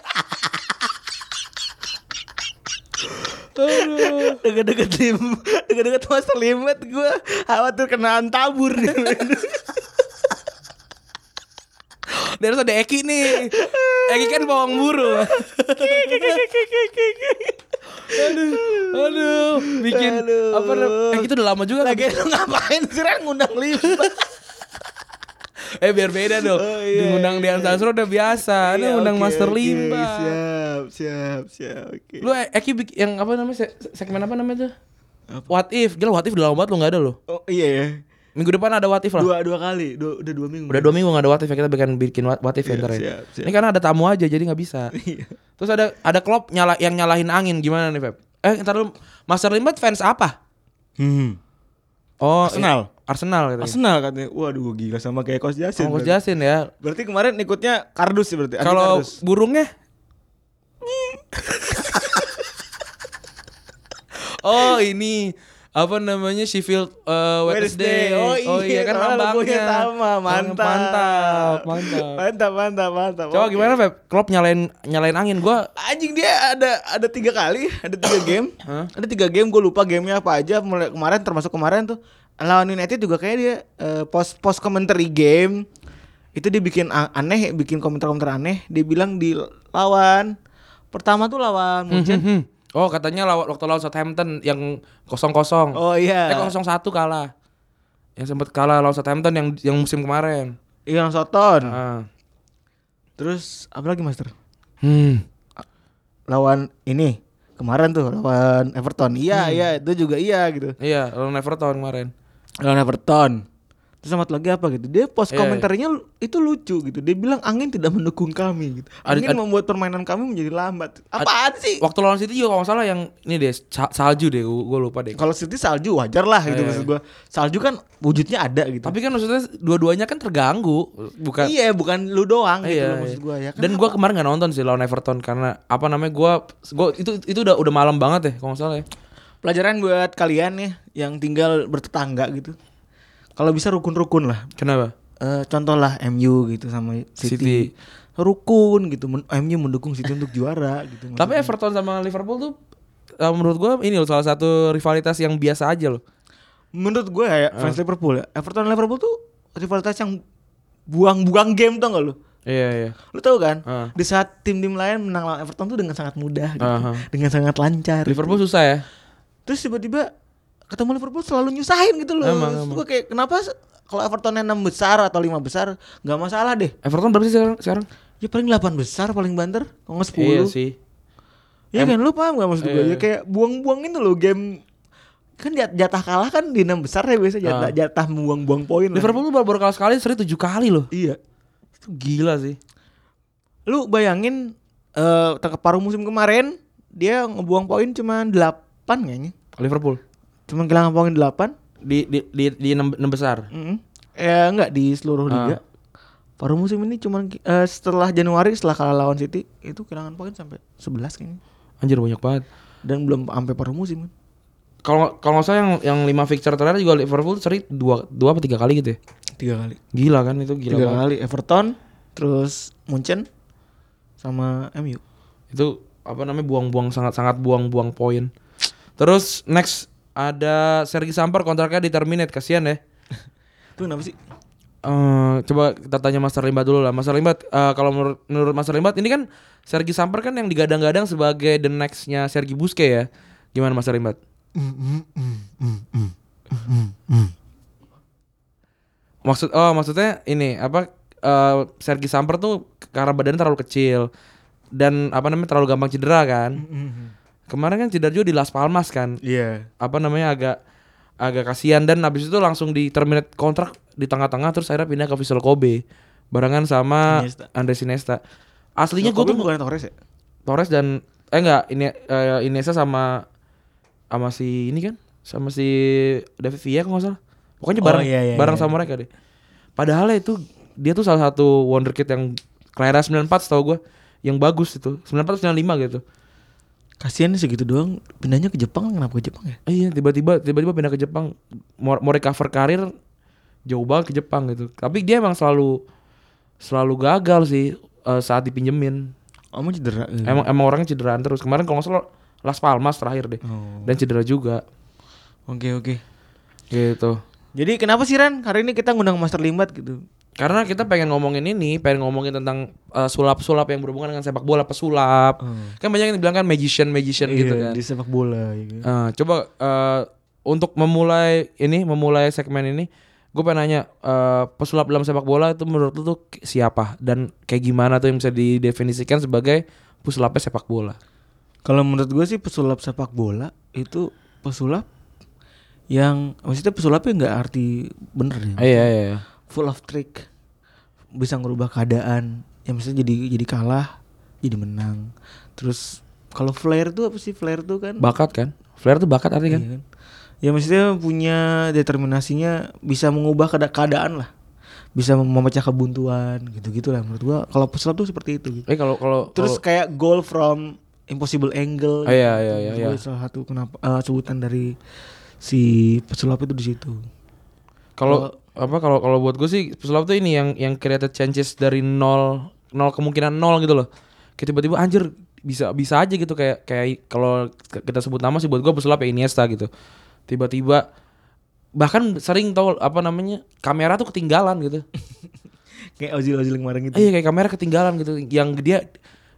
Speaker 2: Aduh.
Speaker 3: deket-deket lim deket-deket master limit gue khawatir kena antabur
Speaker 2: (laughs)
Speaker 3: nih
Speaker 2: Dia harus ada Eki nih. Eki kan bawang burung. aduh, aduh, bikin
Speaker 3: Aduh.
Speaker 2: apa? nam- Eki itu udah lama juga
Speaker 3: lagi
Speaker 2: lagi.
Speaker 3: lu ngapain sih Ran ngundang limit
Speaker 2: Eh biar beda dong.
Speaker 3: Oh, iya,
Speaker 2: Diundang
Speaker 3: iya,
Speaker 2: Dian Sastro udah biasa. Ini undang Kan Master Limba.
Speaker 3: siap siap siap oke
Speaker 2: Lu E- Eki bikin yang apa namanya se- se- segmen apa namanya tuh?
Speaker 3: Apa?
Speaker 2: What if? Gila what if udah lama banget lu nggak ada loh.
Speaker 3: oh iya ya
Speaker 2: Minggu depan ada what if lah.
Speaker 3: dua dua kali dua, udah dua minggu
Speaker 2: Udah dua minggu gak ada what if ya kita bikin bikin what, what if ya
Speaker 3: Iya,
Speaker 2: ntar ya.
Speaker 3: siap, siap.
Speaker 2: Ini karena ada tamu aja jadi nggak bisa.
Speaker 3: (laughs) Iya.
Speaker 2: Terus ada ada klub nyala yang nyalahin angin gimana nih Feb? Eh ntar dulu Master Limbat fans apa?
Speaker 3: hmm.
Speaker 2: Oh
Speaker 3: Arsenal.
Speaker 2: i- Arsenal katanya.
Speaker 3: Arsenal katanya waduh gila sama kayak Kos Jasin
Speaker 2: Oh, Coach Justin ya.
Speaker 3: berarti kemarin ikutnya kardus sih berarti anti
Speaker 2: Kalau
Speaker 3: kardus.
Speaker 2: burungnya? oh ini apa namanya Sheffield eh, Wednesday.
Speaker 3: Wednesday. Oh, iya,
Speaker 2: kan
Speaker 3: soalnya logonya
Speaker 2: lambangnya
Speaker 3: sama. Mantap.
Speaker 2: mantap, mantap.
Speaker 3: mantap mantap mantap
Speaker 2: Coba
Speaker 3: Oke.
Speaker 2: gimana Feb? Klopp nyalain nyalain angin gua
Speaker 3: Anjing dia ada ada tiga kali, ada tiga game,
Speaker 2: (coughs) Hah?
Speaker 3: ada tiga game gue lupa gamenya apa aja. Mulai kemarin termasuk kemarin tuh lawan United juga kayak dia eh, post post commentary game itu dia bikin a- aneh, bikin komentar-komentar aneh. Dia bilang di lawan pertama tuh lawan Munchen.
Speaker 2: Hmm. Oh katanya lawan waktu lawan Southampton yang kosong kosong.
Speaker 3: Oh iya.
Speaker 2: Eh kosong satu kalah. Yang sempat kalah lawan Southampton yang yang musim kemarin.
Speaker 3: Yang Soton.
Speaker 2: Ah.
Speaker 3: Terus apa lagi Master?
Speaker 2: Hmm.
Speaker 3: Lawan ini kemarin tuh lawan Everton. Iya
Speaker 2: Hmm.
Speaker 3: iya itu juga iya gitu.
Speaker 2: Iya lawan Everton kemarin.
Speaker 3: lawan Everton. Terus sama satu lagi apa gitu. Dia post
Speaker 2: Iya, iya.
Speaker 3: komentarnya lu- itu lucu gitu. Dia bilang angin tidak mendukung kami gitu.
Speaker 2: Ada-
Speaker 3: Angin
Speaker 2: ada-
Speaker 3: membuat permainan kami menjadi lambat. Apaan sih?
Speaker 2: Waktu lawan City juga kalau nggak salah yang ini deh sa- salju deh, gue lupa deh.
Speaker 3: Kalau City salju wajar lah gitu
Speaker 2: Iya,
Speaker 3: maksud gua. Salju kan wujudnya ada gitu.
Speaker 2: Tapi kan maksudnya dua-duanya kan terganggu, bukan?
Speaker 3: iya, bukan lu doang gitu
Speaker 2: Iya,
Speaker 3: loh maksud
Speaker 2: iya.
Speaker 3: gua ya. Kan
Speaker 2: Dan gue kemarin nggak nonton sih lawan Everton karena apa namanya gue, gue itu itu udah udah malam banget deh kalau nggak salah ya.
Speaker 3: pelajaran buat kalian ya yang tinggal bertetangga gitu. Kalau bisa rukun-rukun lah.
Speaker 2: Kenapa?
Speaker 3: Eh contoh lah MU gitu sama City.
Speaker 2: City.
Speaker 3: Rukun gitu. Men- MU mendukung City untuk juara
Speaker 2: (laughs)
Speaker 3: gitu.
Speaker 2: Tapi Everton sama Liverpool tuh eh, menurut gue ini loh salah satu rivalitas yang biasa aja loh.
Speaker 3: menurut gue
Speaker 2: Ah.
Speaker 3: ya fans Liverpool ya Everton Liverpool tuh rivalitas yang buang-buang game tau gak lu
Speaker 2: Iya iya.
Speaker 3: lu tau kan
Speaker 2: Ah.
Speaker 3: di saat tim-tim lain menang lawan Everton tuh dengan sangat mudah gitu.
Speaker 2: Aha.
Speaker 3: dengan sangat lancar
Speaker 2: Liverpool susah ya.
Speaker 3: terus tiba-tiba ketemu Liverpool selalu nyusahin gitu loh
Speaker 2: Emang,
Speaker 3: Terus
Speaker 2: emang.
Speaker 3: gue kayak kenapa se- kalau Evertonnya 6 besar atau 5 besar nggak masalah deh
Speaker 2: Everton berapa sih sekarang? sekarang?
Speaker 3: ya paling 8 besar paling banter kalau nggak 10
Speaker 2: Iya sih.
Speaker 3: Ya kan lu paham gak maksud gue
Speaker 2: Iya,
Speaker 3: ya kayak buang-buang itu loh game kan jat- jatah kalah kan di 6 besar ya biasa jatah,
Speaker 2: Ah.
Speaker 3: jatah buang-buang poin lah.
Speaker 2: Liverpool tuh baru, baru kalah sekali seri tujuh kali loh.
Speaker 3: iya
Speaker 2: Itu gila sih.
Speaker 3: lu bayangin eh tengah paruh musim kemarin dia ngebuang poin cuma 8 kayaknya.
Speaker 2: Liverpool
Speaker 3: Cuma kehilangan poin 8.
Speaker 2: di di di, di enam, enam besar.
Speaker 3: Heeh. Ya enggak di seluruh liga. Paruh musim ini cuma eh, setelah Januari setelah kalah lawan City itu kehilangan poin sampai 11 kayaknya.
Speaker 2: Anjir banyak banget.
Speaker 3: Dan belum sampai paruh musim kan.
Speaker 2: Kalau kalau nggak salah yang yang lima fixture terakhir juga Liverpool seri dua dua apa tiga kali gitu ya.
Speaker 3: Tiga kali.
Speaker 2: Gila kan itu gila
Speaker 3: Tiga
Speaker 2: banget.
Speaker 3: kali Everton, terus Munchen sama MU.
Speaker 2: Itu apa namanya buang-buang sangat-sangat buang-buang poin. Terus next ada Sergi Samper kontraknya di terminate kasihan ya.
Speaker 3: Itu kenapa sih?
Speaker 2: Eh, coba kita tanya Master Limbat dulu lah. Master Limbat, eh, kalau menurut, menurut Master Limbat ini kan Sergi Samper kan yang digadang-gadang sebagai the next-nya Sergi Busquets ya. Gimana Master Limbat? Maksud oh maksudnya ini apa eh, Sergi Samper tuh karena badannya terlalu kecil dan apa namanya terlalu gampang cedera kan. Kemarin kan cedera juga di Las Palmas kan.
Speaker 3: Mm-hmm, Iya.
Speaker 2: Apa namanya agak agak kasihan dan habis itu langsung di terminate kontrak di tengah-tengah terus akhirnya pindah ke Vissel Kobe barengan sama
Speaker 3: Iniesta.
Speaker 2: Andre Sinesta. Aslinya
Speaker 3: Ini gue
Speaker 2: gue tuh
Speaker 3: bukan Torres ya?
Speaker 2: Torres dan eh enggak ini eh, Iniesta sama sama si ini kan sama si David Villa kalau nggak salah pokoknya
Speaker 3: Oh,
Speaker 2: bareng
Speaker 3: iya, iya,
Speaker 2: bareng
Speaker 3: iya.
Speaker 2: sama mereka deh padahal itu dia tuh salah satu wonderkid yang kelahiran 94 setahu gue yang bagus itu 94 atau 95 gitu
Speaker 3: Kasihan segitu doang pindahnya ke Jepang kenapa ke Jepang ya?
Speaker 2: Eh, iya tiba-tiba tiba-tiba pindah ke Jepang mau, mau recover karir jauh banget ke Jepang gitu tapi dia emang selalu selalu gagal sih eh, saat dipinjemin
Speaker 3: Kamu cedera. eh.
Speaker 2: emang emang orangnya cederaan terus kemarin kalau nggak salah Las Palmas terakhir deh
Speaker 3: Oh.
Speaker 2: dan cedera juga
Speaker 3: Oke oke.
Speaker 2: gitu
Speaker 3: Jadi kenapa sih Ran hari ini kita ngundang Master Limbat gitu?
Speaker 2: karena kita pengen ngomongin ini pengen ngomongin tentang eh, sulap-sulap yang berhubungan dengan sepak bola pesulap
Speaker 3: Hmm.
Speaker 2: kan banyak yang dibilang kan magician magician gitu kan
Speaker 3: Iya, Di sepak bola. Gitu.
Speaker 2: Eh, coba eh, untuk memulai ini, memulai segmen ini, gue pengen nanya eh, pesulap dalam sepak bola itu menurut lu tuh k- siapa dan kayak gimana tuh yang bisa didefinisikan sebagai pesulapnya sepak bola?
Speaker 3: Hmm. Kalau menurut gue sih pesulap sepak bola itu pesulap yang maksudnya pesulapnya nggak arti bener ya.
Speaker 2: Eh, Iya iya iya.
Speaker 3: Full of trick. Bisa ngerubah keadaan. Ya maksudnya jadi jadi kalah, jadi menang. Terus kalau flair tuh apa sih flair tuh kan?
Speaker 2: Bakat kan? Flair tuh bakat
Speaker 3: Iya
Speaker 2: artinya kan?
Speaker 3: kan? Ya maksudnya punya determinasinya bisa mengubah keada- keadaan lah. Bisa mem- memecah kebuntuan gitu-gitu lah menurut gua. Kalau pesulap tuh seperti itu gitu.
Speaker 2: Eh kalau kalau
Speaker 3: Terus kayak goal from impossible angle.
Speaker 2: Ah, iya, iya, iya, iya.
Speaker 3: Menurut gua Salah satu kenapa eh, sebutan dari si pesulap itu di situ.
Speaker 2: kalau apa kalau kalau buat gue sih pesulap tuh ini yang yang created chances dari nol nol kemungkinan nol gitu loh kayak tiba-tiba anjir bisa bisa aja gitu kayak kayak kalau kita sebut nama sih buat gue pesulap ya Iniesta gitu tiba-tiba bahkan sering tau apa namanya kamera tuh ketinggalan gitu
Speaker 3: Kayak Ozil-Ozil kemarin gitu.
Speaker 2: iya kayak kamera ketinggalan gitu yang dia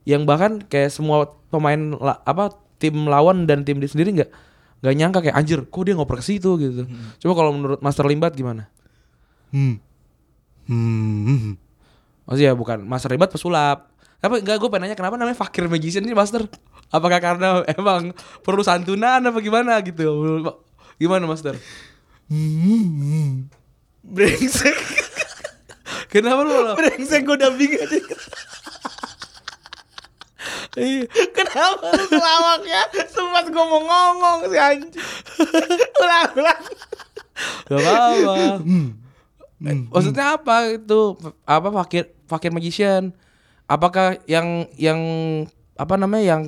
Speaker 2: yang bahkan kayak semua pemain la- apa tim lawan dan tim dia sendiri nggak nggak nyangka kayak anjir kok dia ngoper ke situ gitu coba kalau menurut Master Limbat gimana
Speaker 3: Hmm. Hmm.
Speaker 2: Maksudnya ya bukan Master Ribet pesulap. Apa enggak gue pengen nanya kenapa namanya Fakir Magician ini Master? Apakah karena emang perlu santunan apa gimana gitu? Gimana Master?
Speaker 3: Hmm. Brengsek.
Speaker 2: (laughs) Kenapa lu? lu-
Speaker 3: Brengsek gua dubbing aja.
Speaker 2: Iya.
Speaker 3: Kenapa lu ngelawak ya? Sempat gue mau ngomong sih anjing.
Speaker 2: (laughs)
Speaker 3: Ulang, ulang.
Speaker 2: Gak apa-apa. Eh, Maksudnya apa itu? Apa Fakir Fakir Magician? Apakah yang yang apa namanya yang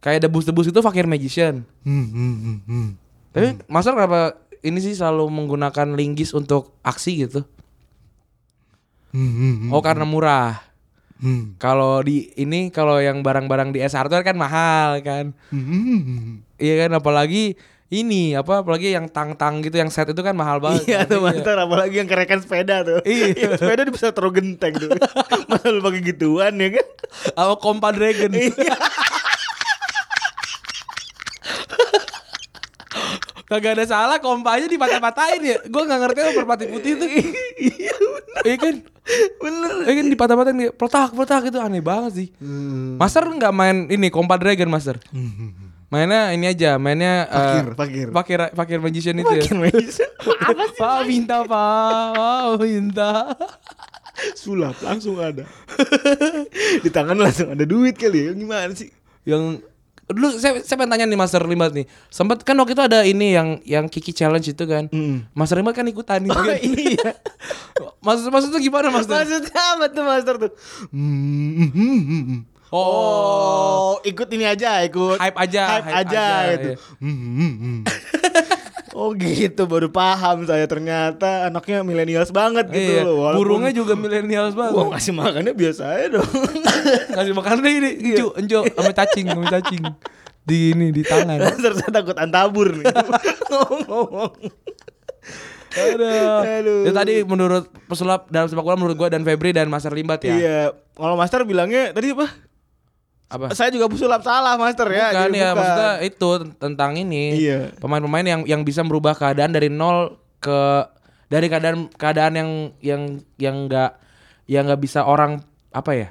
Speaker 2: kayak debus-debus itu Fakir Magician? hmm, Tapi Master kenapa ini sih selalu menggunakan linggis untuk aksi gitu? Oh karena murah. Kalau di ini kalau yang barang-barang di S Hardware kan mahal kan. Iya kan apalagi ini apa apalagi yang tang-tang gitu yang set itu kan mahal banget.
Speaker 3: (laughs) Iya tuh
Speaker 2: Iya.
Speaker 3: mantap apalagi yang kerekan sepeda tuh.
Speaker 2: Iya.
Speaker 3: (laughs) Yang sepeda di bisa taruh genteng tuh. (laughs) Masa lu pakai gituan ya kan? (laughs)
Speaker 2: Apa Kompa Dragon. Kagak ada salah kompa aja dipatah-patahin ya. Gua nggak ngerti apa merpati putih itu. Iya kan?
Speaker 3: Bener.
Speaker 2: Iya kan dipatah-patahin dia peletak peletak itu aneh banget sih. Master nggak main ini Kompa Dragon (laughs) Master. Mainnya ini aja, mainnya eh,
Speaker 3: Fakir, fakir.
Speaker 2: Fakir fakir magician itu ya.
Speaker 3: Makin mesin.
Speaker 2: Apa sih? Pak minta, Pak. Pak minta.
Speaker 3: (laughs) Sulap langsung ada. (laughs) di tangan langsung ada duit kali ya. Gimana sih?
Speaker 2: Yang dulu saya saya pengen tanya nih Master Limbat nih. Sempat kan waktu itu ada ini yang yang Kiki challenge itu kan.
Speaker 3: Mm.
Speaker 2: Master Limbat kan ikutan gitu kan.
Speaker 3: iya.
Speaker 2: (laughs) maksud maksud itu gimana Master?
Speaker 3: (laughs) Maksudnya apa tuh master tuh? Hmm.
Speaker 2: Oh.
Speaker 3: Oh, ikut ini aja, ikut
Speaker 2: Hype aja,
Speaker 3: hype,
Speaker 2: hype
Speaker 3: aja,
Speaker 2: aja,
Speaker 3: gitu.
Speaker 2: iya.
Speaker 3: Hmm, hmm, hmm. (laughs) oh gitu, baru paham saya ternyata anaknya milenials banget gitu
Speaker 2: Iya,
Speaker 3: loh. walaupun-
Speaker 2: burungnya juga milenial
Speaker 3: Wah,
Speaker 2: banget.
Speaker 3: ngasih makannya biasa aja dong. (laughs)
Speaker 2: Kasih makan deh ini,
Speaker 3: Iya.
Speaker 2: enjo, enjo sama cacing, sama cacing. Di ini di tangan.
Speaker 3: Terus saya takut antabur
Speaker 2: (laughs)
Speaker 3: nih. Ngomong-ngomong.
Speaker 2: Aduh.
Speaker 3: (laughs) Aduh.
Speaker 2: Ya tadi menurut pesulap dalam sepak bola menurut gua dan Febri dan Master Limbat ya.
Speaker 3: Iya, kalau master bilangnya tadi apa?
Speaker 2: Apa?
Speaker 3: Saya juga pesulap salah master ya.
Speaker 2: Bukan
Speaker 3: jadi
Speaker 2: ya
Speaker 3: bukan.
Speaker 2: maksudnya itu ten- tentang ini
Speaker 3: Iya.
Speaker 2: pemain-pemain yang yang bisa merubah keadaan dari nol ke dari keadaan keadaan yang yang yang nggak yang nggak bisa orang apa ya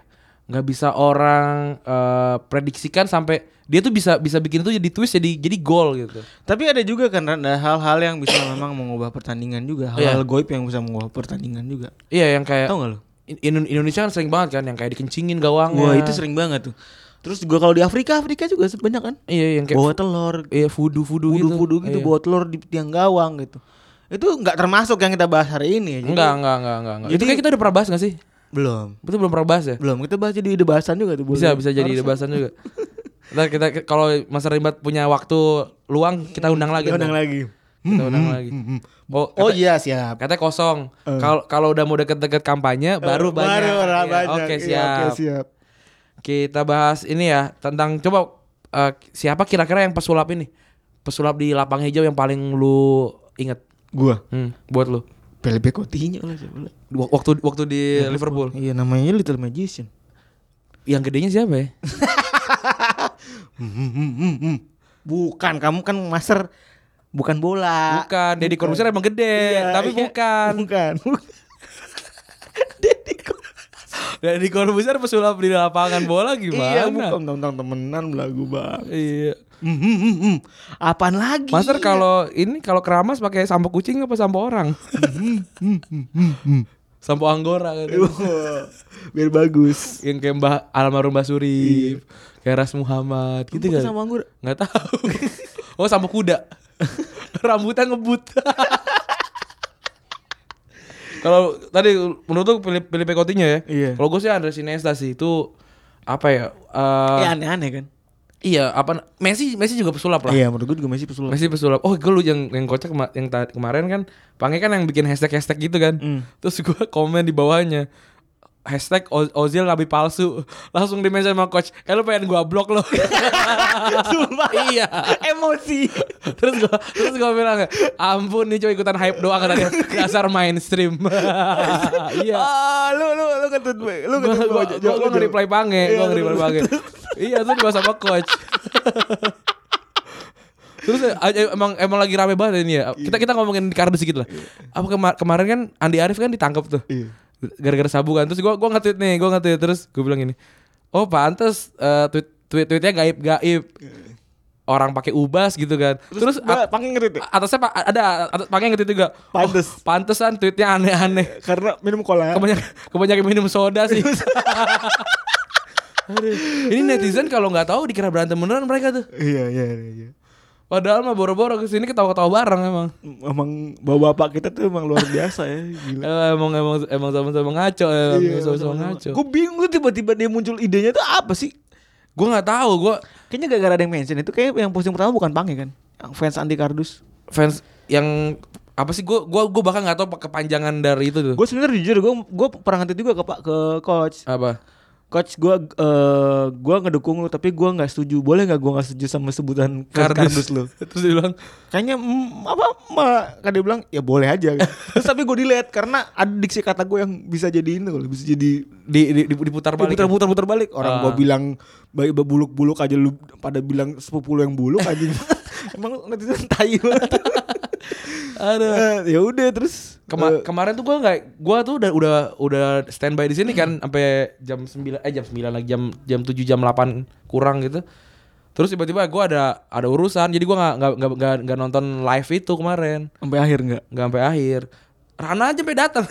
Speaker 2: nggak bisa orang eh, prediksikan sampai dia tuh bisa bisa bikin itu jadi twist jadi jadi gol gitu
Speaker 3: Tapi ada juga kan Ran, ada hal-hal yang bisa memang mengubah pertandingan juga. Hal-hal
Speaker 2: Iya.
Speaker 3: goib yang bisa mengubah pertandingan juga.
Speaker 2: iya yang kayak
Speaker 3: Tahu nggak lo?
Speaker 2: In- Indo- Indonesia kan sering banget kan yang kayak dikencingin gawangnya
Speaker 3: Wah itu sering banget tuh. Terus juga kalau di Afrika, Afrika juga banyak kan.
Speaker 2: iya yang kayak
Speaker 3: Bawa telur,
Speaker 2: iya fudu fudu gitu
Speaker 3: budu-budu
Speaker 2: Iya.
Speaker 3: gitu, bawa telur di tiang gawang gitu. Itu nggak termasuk yang kita bahas hari ini. ya, jadi-
Speaker 2: enggak enggak enggak enggak enggak. itu
Speaker 3: Jadi-
Speaker 2: kayak kita udah pernah bahas gak sih
Speaker 3: Belum.
Speaker 2: itu belum pernah bahas ya
Speaker 3: Belum. Kita bahas jadi ide bahasan juga tuh.
Speaker 2: bisa
Speaker 3: boleh.
Speaker 2: bisa jadi
Speaker 3: Harus-
Speaker 2: bahasan juga ntar kita kalau Mas Rimbat punya waktu luang kita undang lagi
Speaker 3: Hmm, Kita undang
Speaker 2: ntar.
Speaker 3: lagi. Hmm,
Speaker 2: Kita undang lagi. Oh,
Speaker 3: Oh
Speaker 2: kata-
Speaker 3: iya siap.
Speaker 2: Katanya kosong. Kalau kalau udah mau deket-deket kampanye baru
Speaker 3: Eh,
Speaker 2: banyak.
Speaker 3: Baru lah
Speaker 2: Iya,
Speaker 3: banyak.
Speaker 2: Oke,
Speaker 3: Iya,
Speaker 2: siap.
Speaker 3: Oke siap.
Speaker 2: Kita bahas ini ya tentang coba eh, siapa kira-kira yang pesulap ini? Pesulap di lapang hijau yang paling lu inget
Speaker 3: Gua
Speaker 2: Hmm, buat lu.
Speaker 3: Pele Coutinho lah siapa lah.
Speaker 2: Wa- Waktu waktu di Liverpool.
Speaker 3: Iya namanya Little Magician.
Speaker 2: Yang gedenya siapa ya?
Speaker 3: Bukan kamu kan master bukan bola.
Speaker 2: Bukan, Deddy Corbuzier emang gede,
Speaker 3: Ah, Iya,
Speaker 2: tapi
Speaker 3: iya.
Speaker 2: bukan.
Speaker 3: Bukan.
Speaker 2: Deddy Corbuzier pesulap di lapangan bola gimana?
Speaker 3: Iya bukan tentang temenan lagu bang.
Speaker 2: Iya.
Speaker 3: Hmm, hmm, hmm, hmm. Apaan lagi?
Speaker 2: Master kalau ini kalau keramas pakai sampo kucing apa sampo orang? sampo anggora kan.
Speaker 3: (laughs) biar bagus.
Speaker 2: Yang kayak Mbah almarhum Mbah Surip, kayak Ras Muhammad gitu
Speaker 3: Bukan
Speaker 2: kan.
Speaker 3: Iya. sama anggur.
Speaker 2: Nggak tahu. (laughs) Oh, sampo kuda. (laughs) Rambutnya ngebut. (laughs) kalau tadi menurut lu pilih pilih Coutinho ya.
Speaker 3: Iya.
Speaker 2: Kalau gue sih Andres Iniesta sih itu apa ya? eh,
Speaker 3: Ya aneh-aneh kan.
Speaker 2: iya, apa Messi Messi juga pesulap lah.
Speaker 3: Iya menurut gue juga masih pesulap.
Speaker 2: Masih pesulap. Oh, gue lu yang yang kocak kema- yang ta- kemarin kan, Pange kan yang bikin hashtag-hashtag gitu kan.
Speaker 3: Hmm.
Speaker 2: Terus gue (laughs) komen di bawahnya hashtag O- Ozil nabi palsu (laughs) langsung di mention sama coach eh lu pengen gua blok lo
Speaker 3: (laughs)
Speaker 2: (laughs)
Speaker 3: Sumpah.
Speaker 2: iya
Speaker 3: (laughs) Emosi.
Speaker 2: terus gua terus gua bilang ampun nih cuma ikutan hype doang
Speaker 3: (laughs)
Speaker 2: katanya dasar mainstream (laughs) iya
Speaker 3: Ah, lu lu lu kentut gue. Lu
Speaker 2: gua
Speaker 3: kentut
Speaker 2: gua,
Speaker 3: gue.
Speaker 2: gua, gua nge-reply pange
Speaker 3: Iya,
Speaker 2: gua nge-reply pange iya terus gua sama coach terus eh, eh, emang emang lagi rame banget ini ya kita kita ngomongin di kardus sedikit lah apa kemar- kemarin kan Andi Arief kan ditangkap tuh
Speaker 3: Iya.
Speaker 2: gara-gara sabu kan terus gue gua nge-tweet nih gue nge-tweet terus gue bilang gini oh pantes eh, tweet tweet tweetnya gaib gaib orang pakai ubas gitu kan Iya. terus, at-
Speaker 3: Gua pakai ngerit ya?
Speaker 2: atasnya pa- ada atas pakai nge-tweet juga Oh,
Speaker 3: Pantes.
Speaker 2: pantesan tweetnya aneh-aneh
Speaker 3: Karena minum cola.
Speaker 2: kebanyakan kebanyakan minum soda sih (laughs) Aduh, ini netizen kalau nggak tahu dikira berantem beneran mereka tuh
Speaker 3: Iya iya iya. iya.
Speaker 2: padahal mah boro-boro kesini ketawa-ketawa bareng emang
Speaker 3: Emang bapak-bapak kita tuh emang luar biasa ya,
Speaker 2: (laughs)
Speaker 3: gila.
Speaker 2: Eh, emang emang emang sama-sama ngaco eh, emang
Speaker 3: Iya,
Speaker 2: sama-sama
Speaker 3: sama-sama.
Speaker 2: ngaco
Speaker 3: Gua bingung tuh tiba-tiba dia muncul idenya tuh apa sih?
Speaker 2: gue nggak tahu gue
Speaker 3: Kayaknya gara-gara ada yang mention itu kayak yang posting pertama bukan Pange kan? Yang fans Andi Kardus.
Speaker 2: fans yang apa sih gue gua gua bahkan nggak tahu pe- kepanjangan dari itu tuh
Speaker 3: Gue sebenarnya jujur gue gue pernah ngetit juga ke Pak ke coach.
Speaker 2: apa
Speaker 3: Coach gue eh gue ngedukung lu tapi gue nggak setuju. Boleh nggak gue nggak setuju sama sebutan fans Kardus lu?
Speaker 2: (laughs) terus dia bilang
Speaker 3: Kayaknya mm, apa ma, kan dia bilang ya boleh (laughs) aja. Kan. Terus tapi gue delete karena ada diksi kata gue yang bisa jadi ini loh, bisa jadi
Speaker 2: di, di, di- diputar balik
Speaker 3: putar putar putar balik orang
Speaker 2: Ah.
Speaker 3: gua bilang baik buluk buluk aja lu pada bilang sepupu lu yang buluk aja emang lu netizen (laughs) tai banget
Speaker 2: Aduh.
Speaker 3: Eh, (laughs) ya udah terus
Speaker 2: Kema-
Speaker 3: eh,
Speaker 2: kemarin tuh gue nggak gue tuh udah udah udah standby di sini kan
Speaker 3: Hmm.
Speaker 2: sampai jam 9 eh jam 9 lagi jam jam 7 jam 8 kurang gitu terus tiba-tiba gue ada ada urusan jadi gue nggak nggak- nggak nggak nggak nonton live itu kemarin
Speaker 3: sampai akhir nggak
Speaker 2: nggak sampai akhir Rana aja sampai datang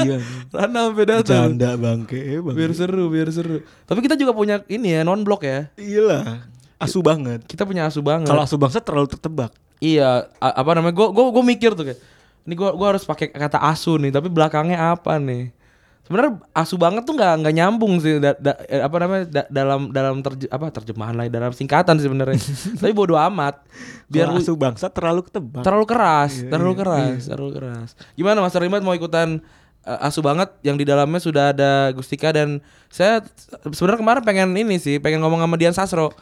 Speaker 3: iya
Speaker 2: (laughs) Rana sampai datang
Speaker 3: canda bangke eh, bangke
Speaker 2: biar seru biar seru tapi kita juga punya ini ya non blok ya
Speaker 3: iyalah asu banget
Speaker 2: kita punya asu banget
Speaker 3: kalau asu bangsa terlalu tertebak
Speaker 2: Iya, a- apa namanya? Gue gua gua mikir tuh kayak ini gua gua harus pakai kata asu nih, tapi belakangnya apa nih? Sebenarnya asu banget tuh nggak nggak nyambung sih da- da- eh, apa namanya da- dalam dalam terje- apa terjemahan lain dalam singkatan sih sebenarnya. tapi bodo amat. Biar lu-
Speaker 3: biar asu bangsa terlalu ketebak
Speaker 2: terlalu keras, terlalu keras, terlalu keras. Gimana Mas Rimat mau ikutan eh, asu banget yang di dalamnya sudah ada Gustika dan saya t- sebenarnya kemarin pengen ini sih, pengen ngomong sama Dian Sasro.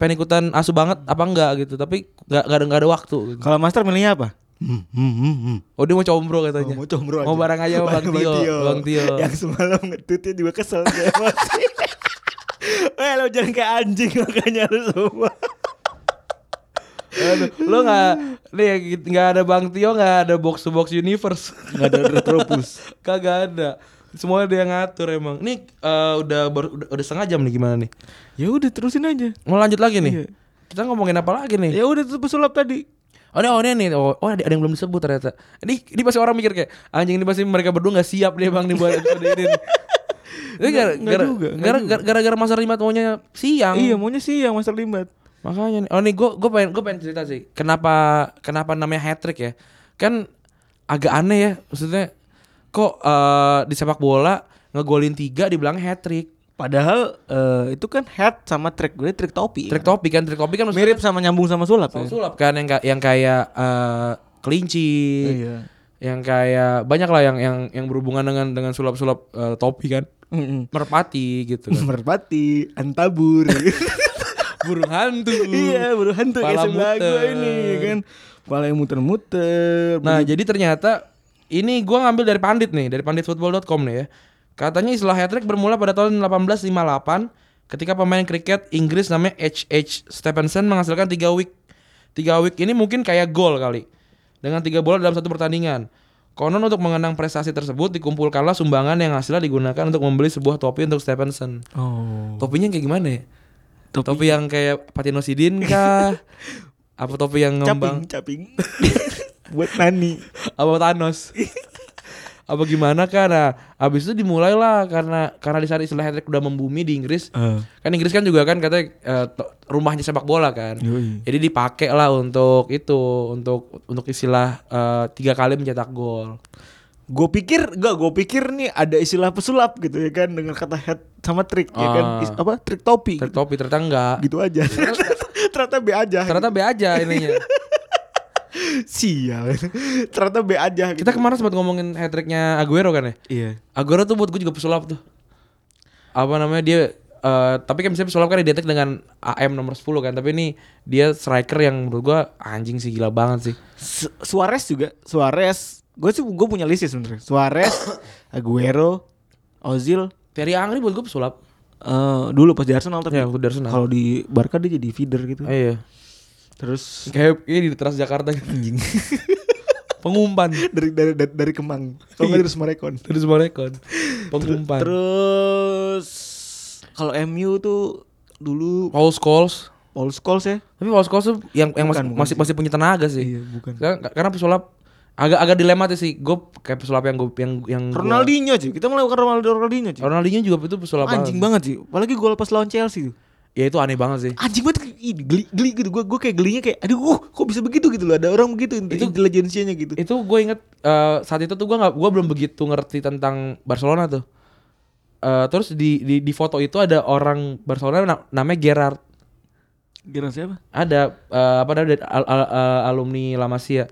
Speaker 2: Pengen ikutan asu banget apa enggak gitu, tapi nggak nggak ada nggak ada waktu. Gitu.
Speaker 3: kalau master milihnya apa Hmm, hmm, hmm, hmm.
Speaker 2: Oh dia mau combro katanya.
Speaker 3: Mau combro aja.
Speaker 2: Mau bareng (laughs) aja sama Bang
Speaker 3: Bareng
Speaker 2: Tio. Bang (laughs) Tio.
Speaker 3: Yang semalam ngetutnya juga kesel dia emosi. (laughs) Eh lo jangan kayak anjing makanya lu semua.
Speaker 2: Aduh, lo nggak, nih ya, gitu, nggak ada Bang Tio, nggak ada box to box universe,
Speaker 3: Enggak ada retropus.
Speaker 2: (laughs) kagak ada. Semuanya dia yang ngatur emang. Nih eh, udah, baru- udah udah setengah jam nih gimana nih?
Speaker 3: Ya udah terusin aja.
Speaker 2: Mau lanjut lagi nih?
Speaker 3: Iya.
Speaker 2: Kita ngomongin apa lagi nih?
Speaker 3: Ya udah tuh pesulap tadi.
Speaker 2: Iya. Oh, ini, oh, ini, nih. oh, oh, ada, ada yang belum disebut ternyata. Ini, ini pasti orang mikir kayak anjing ini pasti mereka berdua nggak siap deh bang dibuat episode ini. (laughs) nih." Ini gara-
Speaker 3: nggak
Speaker 2: gara-
Speaker 3: juga, nggak
Speaker 2: gara- gara- gara-gara Mas Rimat maunya siang.
Speaker 3: Iya, maunya sih yang Master Limbat.
Speaker 2: Makanya nih. Oh nih gue gue pengen gue pengen cerita sih. Kenapa kenapa namanya hat trick ya? Kan agak aneh ya. Maksudnya kok eh, di sepak bola ngegolin tiga dibilang hat trick.
Speaker 3: Padahal eh, itu kan head sama track gue track topi.
Speaker 2: Trik
Speaker 3: kan?
Speaker 2: topi kan, trik topi kan maksudnya
Speaker 3: Mirip sama nyambung sama sulap.
Speaker 2: sama
Speaker 3: ya?
Speaker 2: sulap kan yang ka- yang kayak eh, kelinci.
Speaker 3: Iya.
Speaker 2: Yang kayak banyak lah yang yang yang berhubungan dengan dengan sulap-sulap eh, topi kan.
Speaker 3: Mm-mm.
Speaker 2: Merpati gitu kan.
Speaker 3: Merpati, (laughs) antabur.
Speaker 2: (laughs) Burung hantu.
Speaker 3: iya, baru hantu kayak
Speaker 2: Pala
Speaker 3: sebelah gue
Speaker 2: muter.
Speaker 3: ini ya kan. Pala yang muter-muter.
Speaker 2: Nah, jadi ternyata ini gua ngambil dari Pandit nih, dari panditfootball.com nih ya. Katanya istilah hat trick bermula pada tahun 1858 ketika pemain kriket Inggris namanya H.H. Stephenson menghasilkan 3 wick. 3 wick ini mungkin kayak gol kali. Dengan 3 bola dalam satu pertandingan. Konon untuk mengenang prestasi tersebut dikumpulkanlah sumbangan yang hasilnya digunakan untuk membeli sebuah topi untuk Stephenson.
Speaker 3: oh.
Speaker 2: Topinya yang kayak gimana ya? Topi, yang kayak Patinosidin
Speaker 3: (laughs)
Speaker 2: kah? apa topi yang ngembang?
Speaker 3: Caping, caping. (laughs) Buat nani.
Speaker 2: apa Thanos apa gimana kan nah abis itu dimulailah karena karena di saat istilah hat trick udah membumi di Inggris
Speaker 3: Eh.
Speaker 2: kan Inggris kan juga kan katanya eh, to- rumahnya sepak bola kan
Speaker 3: Yoi.
Speaker 2: jadi dipakai lah untuk itu untuk untuk istilah eh, tiga kali mencetak gol
Speaker 3: Gue pikir gak, gue pikir nih ada istilah pesulap gitu ya kan dengan kata head sama trick ya kan
Speaker 2: Ah.
Speaker 3: Is- apa trik topi
Speaker 2: Trik topi ternyata enggak
Speaker 3: gitu aja. (laughs) Ternyata B aja.
Speaker 2: ternyata B aja
Speaker 3: (laughs)
Speaker 2: ininya
Speaker 3: Sial. (laughs) Ternyata B aja gitu.
Speaker 2: kita kemarin sempat ngomongin hat tricknya Aguero kan ya
Speaker 3: Iya.
Speaker 2: Aguero tuh buat gue juga pesulap tuh apa namanya dia eh, tapi kan misalnya pesulap kan identik dengan AM nomor 10 kan tapi ini dia striker yang menurut gue anjing sih gila banget sih
Speaker 3: Su- Suarez juga Suarez gue sih gue punya list ya sebenarnya Suarez (coughs) Aguero Ozil
Speaker 2: Terry Angri buat gue pesulap
Speaker 3: eh, dulu pas di Arsenal tapi
Speaker 2: ya waktu di Arsenal
Speaker 3: kalau di Barca dia jadi feeder gitu
Speaker 2: Eh, iya
Speaker 3: terus (laughs)
Speaker 2: kayak ini di teras (laughs) Jakarta gitu. pengumpan
Speaker 3: dari dari dari, dari Kemang kalau
Speaker 2: Iya.
Speaker 3: nggak dari Summarecon
Speaker 2: terus Morekon pengumpan
Speaker 3: terus kalau MU tuh dulu
Speaker 2: Paul Scholes
Speaker 3: Paul Scholes ya
Speaker 2: tapi Paul Scholes tuh yang yang
Speaker 3: Bukan,
Speaker 2: masih,
Speaker 3: bukan
Speaker 2: masih masih punya tenaga sih
Speaker 3: Iya, bukan.
Speaker 2: Karena- karena pesulap agak agak dilematis sih gue kayak pesulap yang gue yang yang gua-
Speaker 3: Ronaldinho cuy kita melakukan Ronaldo Ronaldinho cuy
Speaker 2: Ronaldinho juga itu pesulap
Speaker 3: anjing banget sih apalagi gol pas lawan Chelsea tuh
Speaker 2: ya itu aneh banget sih
Speaker 3: anjing banget Ih, geli geli gitu gue gue kayak gelinya kayak aduh uh, kok bisa begitu gitu loh ada orang begitu itu intelijensianya gitu
Speaker 2: itu gue inget eh, saat itu tuh gue nggak gue belum begitu ngerti tentang Barcelona tuh Eh, terus di, di di foto itu ada orang Barcelona na- namanya Gerard
Speaker 3: Gerang siapa
Speaker 2: ada eh, apa namanya dari al- al- eh, alumni La Masia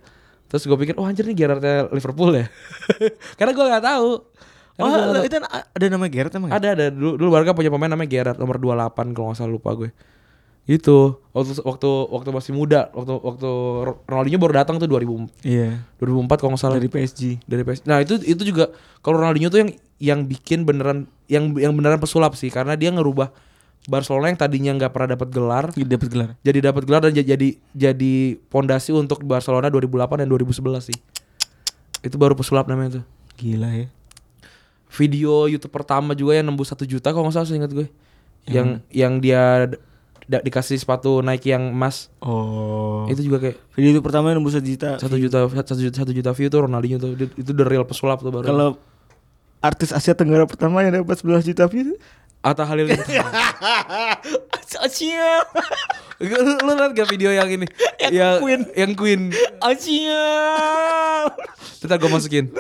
Speaker 2: terus gue pikir oh anjir nih Gerardnya Liverpool ya (laughs) karena gue nggak tahu Karena gua
Speaker 3: oh
Speaker 2: nggak
Speaker 3: lo-
Speaker 2: tahu.
Speaker 3: itu ada ada nama Gerard emang ya?
Speaker 2: ada ada dulu dulu Barca punya pemain namanya Gerard nomor 28 kalau nggak salah lupa gue itu waktu waktu waktu masih muda waktu waktu Ronaldinho baru datang tuh 2000
Speaker 3: iya
Speaker 2: 2004 kalau nggak salah
Speaker 3: dari PSG
Speaker 2: dari PS. Nah itu itu juga kalau Ronaldinho tuh yang yang bikin beneran yang yang beneran pesulap sih karena dia ngerubah Barcelona yang tadinya nggak pernah dapat gelar
Speaker 3: dapat gelar
Speaker 2: jadi dapat gelar dan jadi jadi pondasi untuk Barcelona 2008 dan 2011 sih. Itu baru pesulap namanya tuh.
Speaker 3: gila ya
Speaker 2: Video YouTube pertama juga yang nembus satu juta kalau nggak salah seingat gue. Yang yang dia da- dikasih sepatu Nike yang emas
Speaker 3: oh
Speaker 2: itu juga kayak
Speaker 3: video itu pertama yang nembus juta
Speaker 2: satu juta satu juta satu juta view tuh Ronaldinho tuh Dia- itu the real pesulap tuh baru.
Speaker 3: kalau artis Asia Tenggara pertama yang dapat 11 juta views
Speaker 2: Atta
Speaker 3: (laughs)
Speaker 2: Halilintar.
Speaker 3: Asia
Speaker 2: Lu, lu liat gak video yang ini?
Speaker 3: (laughs) Yang Queen.
Speaker 2: Yang Queen.
Speaker 3: Asia
Speaker 2: Ntar gue masukin.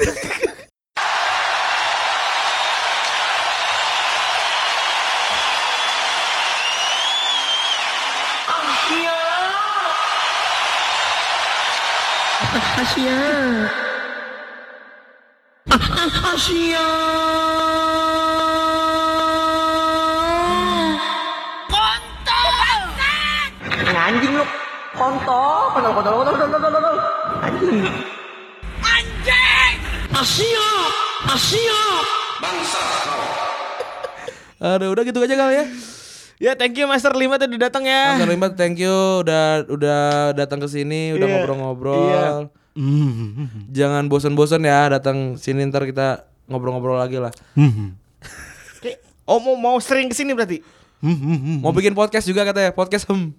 Speaker 4: anjing lu kontol kontol kontol kontol kontol kontol, kontol anjing
Speaker 2: Aduh, udah gitu aja kali ya.
Speaker 3: ya thank you Master Lima tadi datang ya
Speaker 2: Mas Arlimat, thank you udah udah datang ke sini, udah
Speaker 3: Iya.
Speaker 2: ngobrol-ngobrol.
Speaker 3: Iya.
Speaker 2: Jangan bosan-bosan ya datang sini ntar kita ngobrol-ngobrol lagi lah.
Speaker 3: Mm-hmm. Oke. Oh mau mau sering kesini berarti Hmm.
Speaker 2: Mau bikin podcast juga katanya, podcast
Speaker 3: (laughs)
Speaker 2: hem.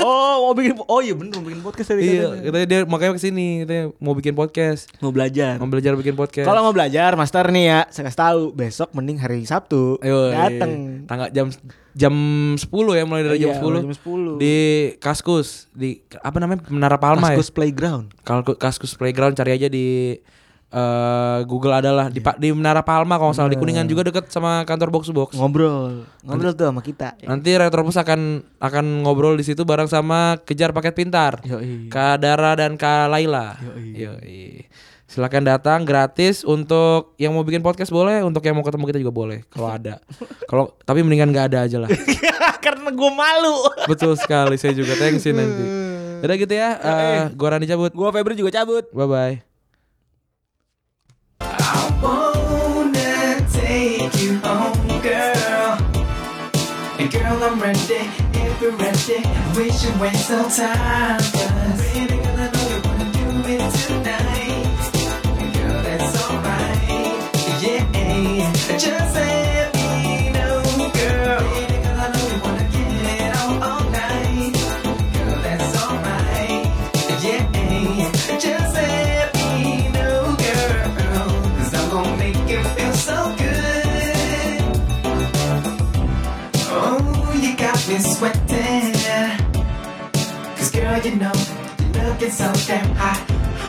Speaker 3: Oh mau bikin oh iya bener mau bikin podcast tadi
Speaker 2: iya,
Speaker 3: katanya.
Speaker 2: katanya dia makanya kesini, katanya mau bikin podcast,
Speaker 3: mau belajar
Speaker 2: mau belajar bikin podcast.
Speaker 3: Kalau mau belajar master nih ya, saya kasih tahu besok mending hari Sabtu
Speaker 2: Ayo,
Speaker 3: datang.
Speaker 2: Tanggal jam jam 10 ya mulai dari jam 10.
Speaker 3: Iya, mulai jam 10.
Speaker 2: Di Kaskus, di apa namanya? Menara Palma
Speaker 3: Maskus
Speaker 2: ya.
Speaker 3: Playground.
Speaker 2: Kalau Kaskus Playground cari aja di eh, Google adalah di,
Speaker 3: Iya.
Speaker 2: pa- di Menara Palma kalau nggak salah di Kuningan juga deket sama kantor box to box.
Speaker 3: Oh. Ngobrol, ngobrol tuh sama kita.
Speaker 2: Nanti Retropus akan akan ngobrol di situ bareng sama kejar paket pintar.
Speaker 3: Yoi.
Speaker 2: Kak Dara dan Kak Laila. Yoi. Silakan datang gratis untuk yang mau bikin podcast boleh, untuk yang mau ketemu kita juga boleh (laughs) kalau ada. Kalau tapi mendingan nggak ada (laughs) aja lah.
Speaker 3: (laughs) Karena gue malu.
Speaker 2: Betul sekali, saya juga thanks you (laughs) nanti. Udah gitu ya, eh, gua Rani cabut.
Speaker 3: Gue Febri juga cabut.
Speaker 2: Bye bye.
Speaker 5: wanna take you home, girl. And girl, I'm ready, if you're ready, we should waste no time. 'cause baby, girl, I know you wanna do it tonight. And girl, that's alright, yeah. Just let me know, girl. Baby, girl, I know you wanna get it on all night. Girl, that's alright, yeah. Just let me know, girl. Cause I'm gonna make you feel so good. Oh, you got me sweating. Cause girl, you know, you're looking so damn hot.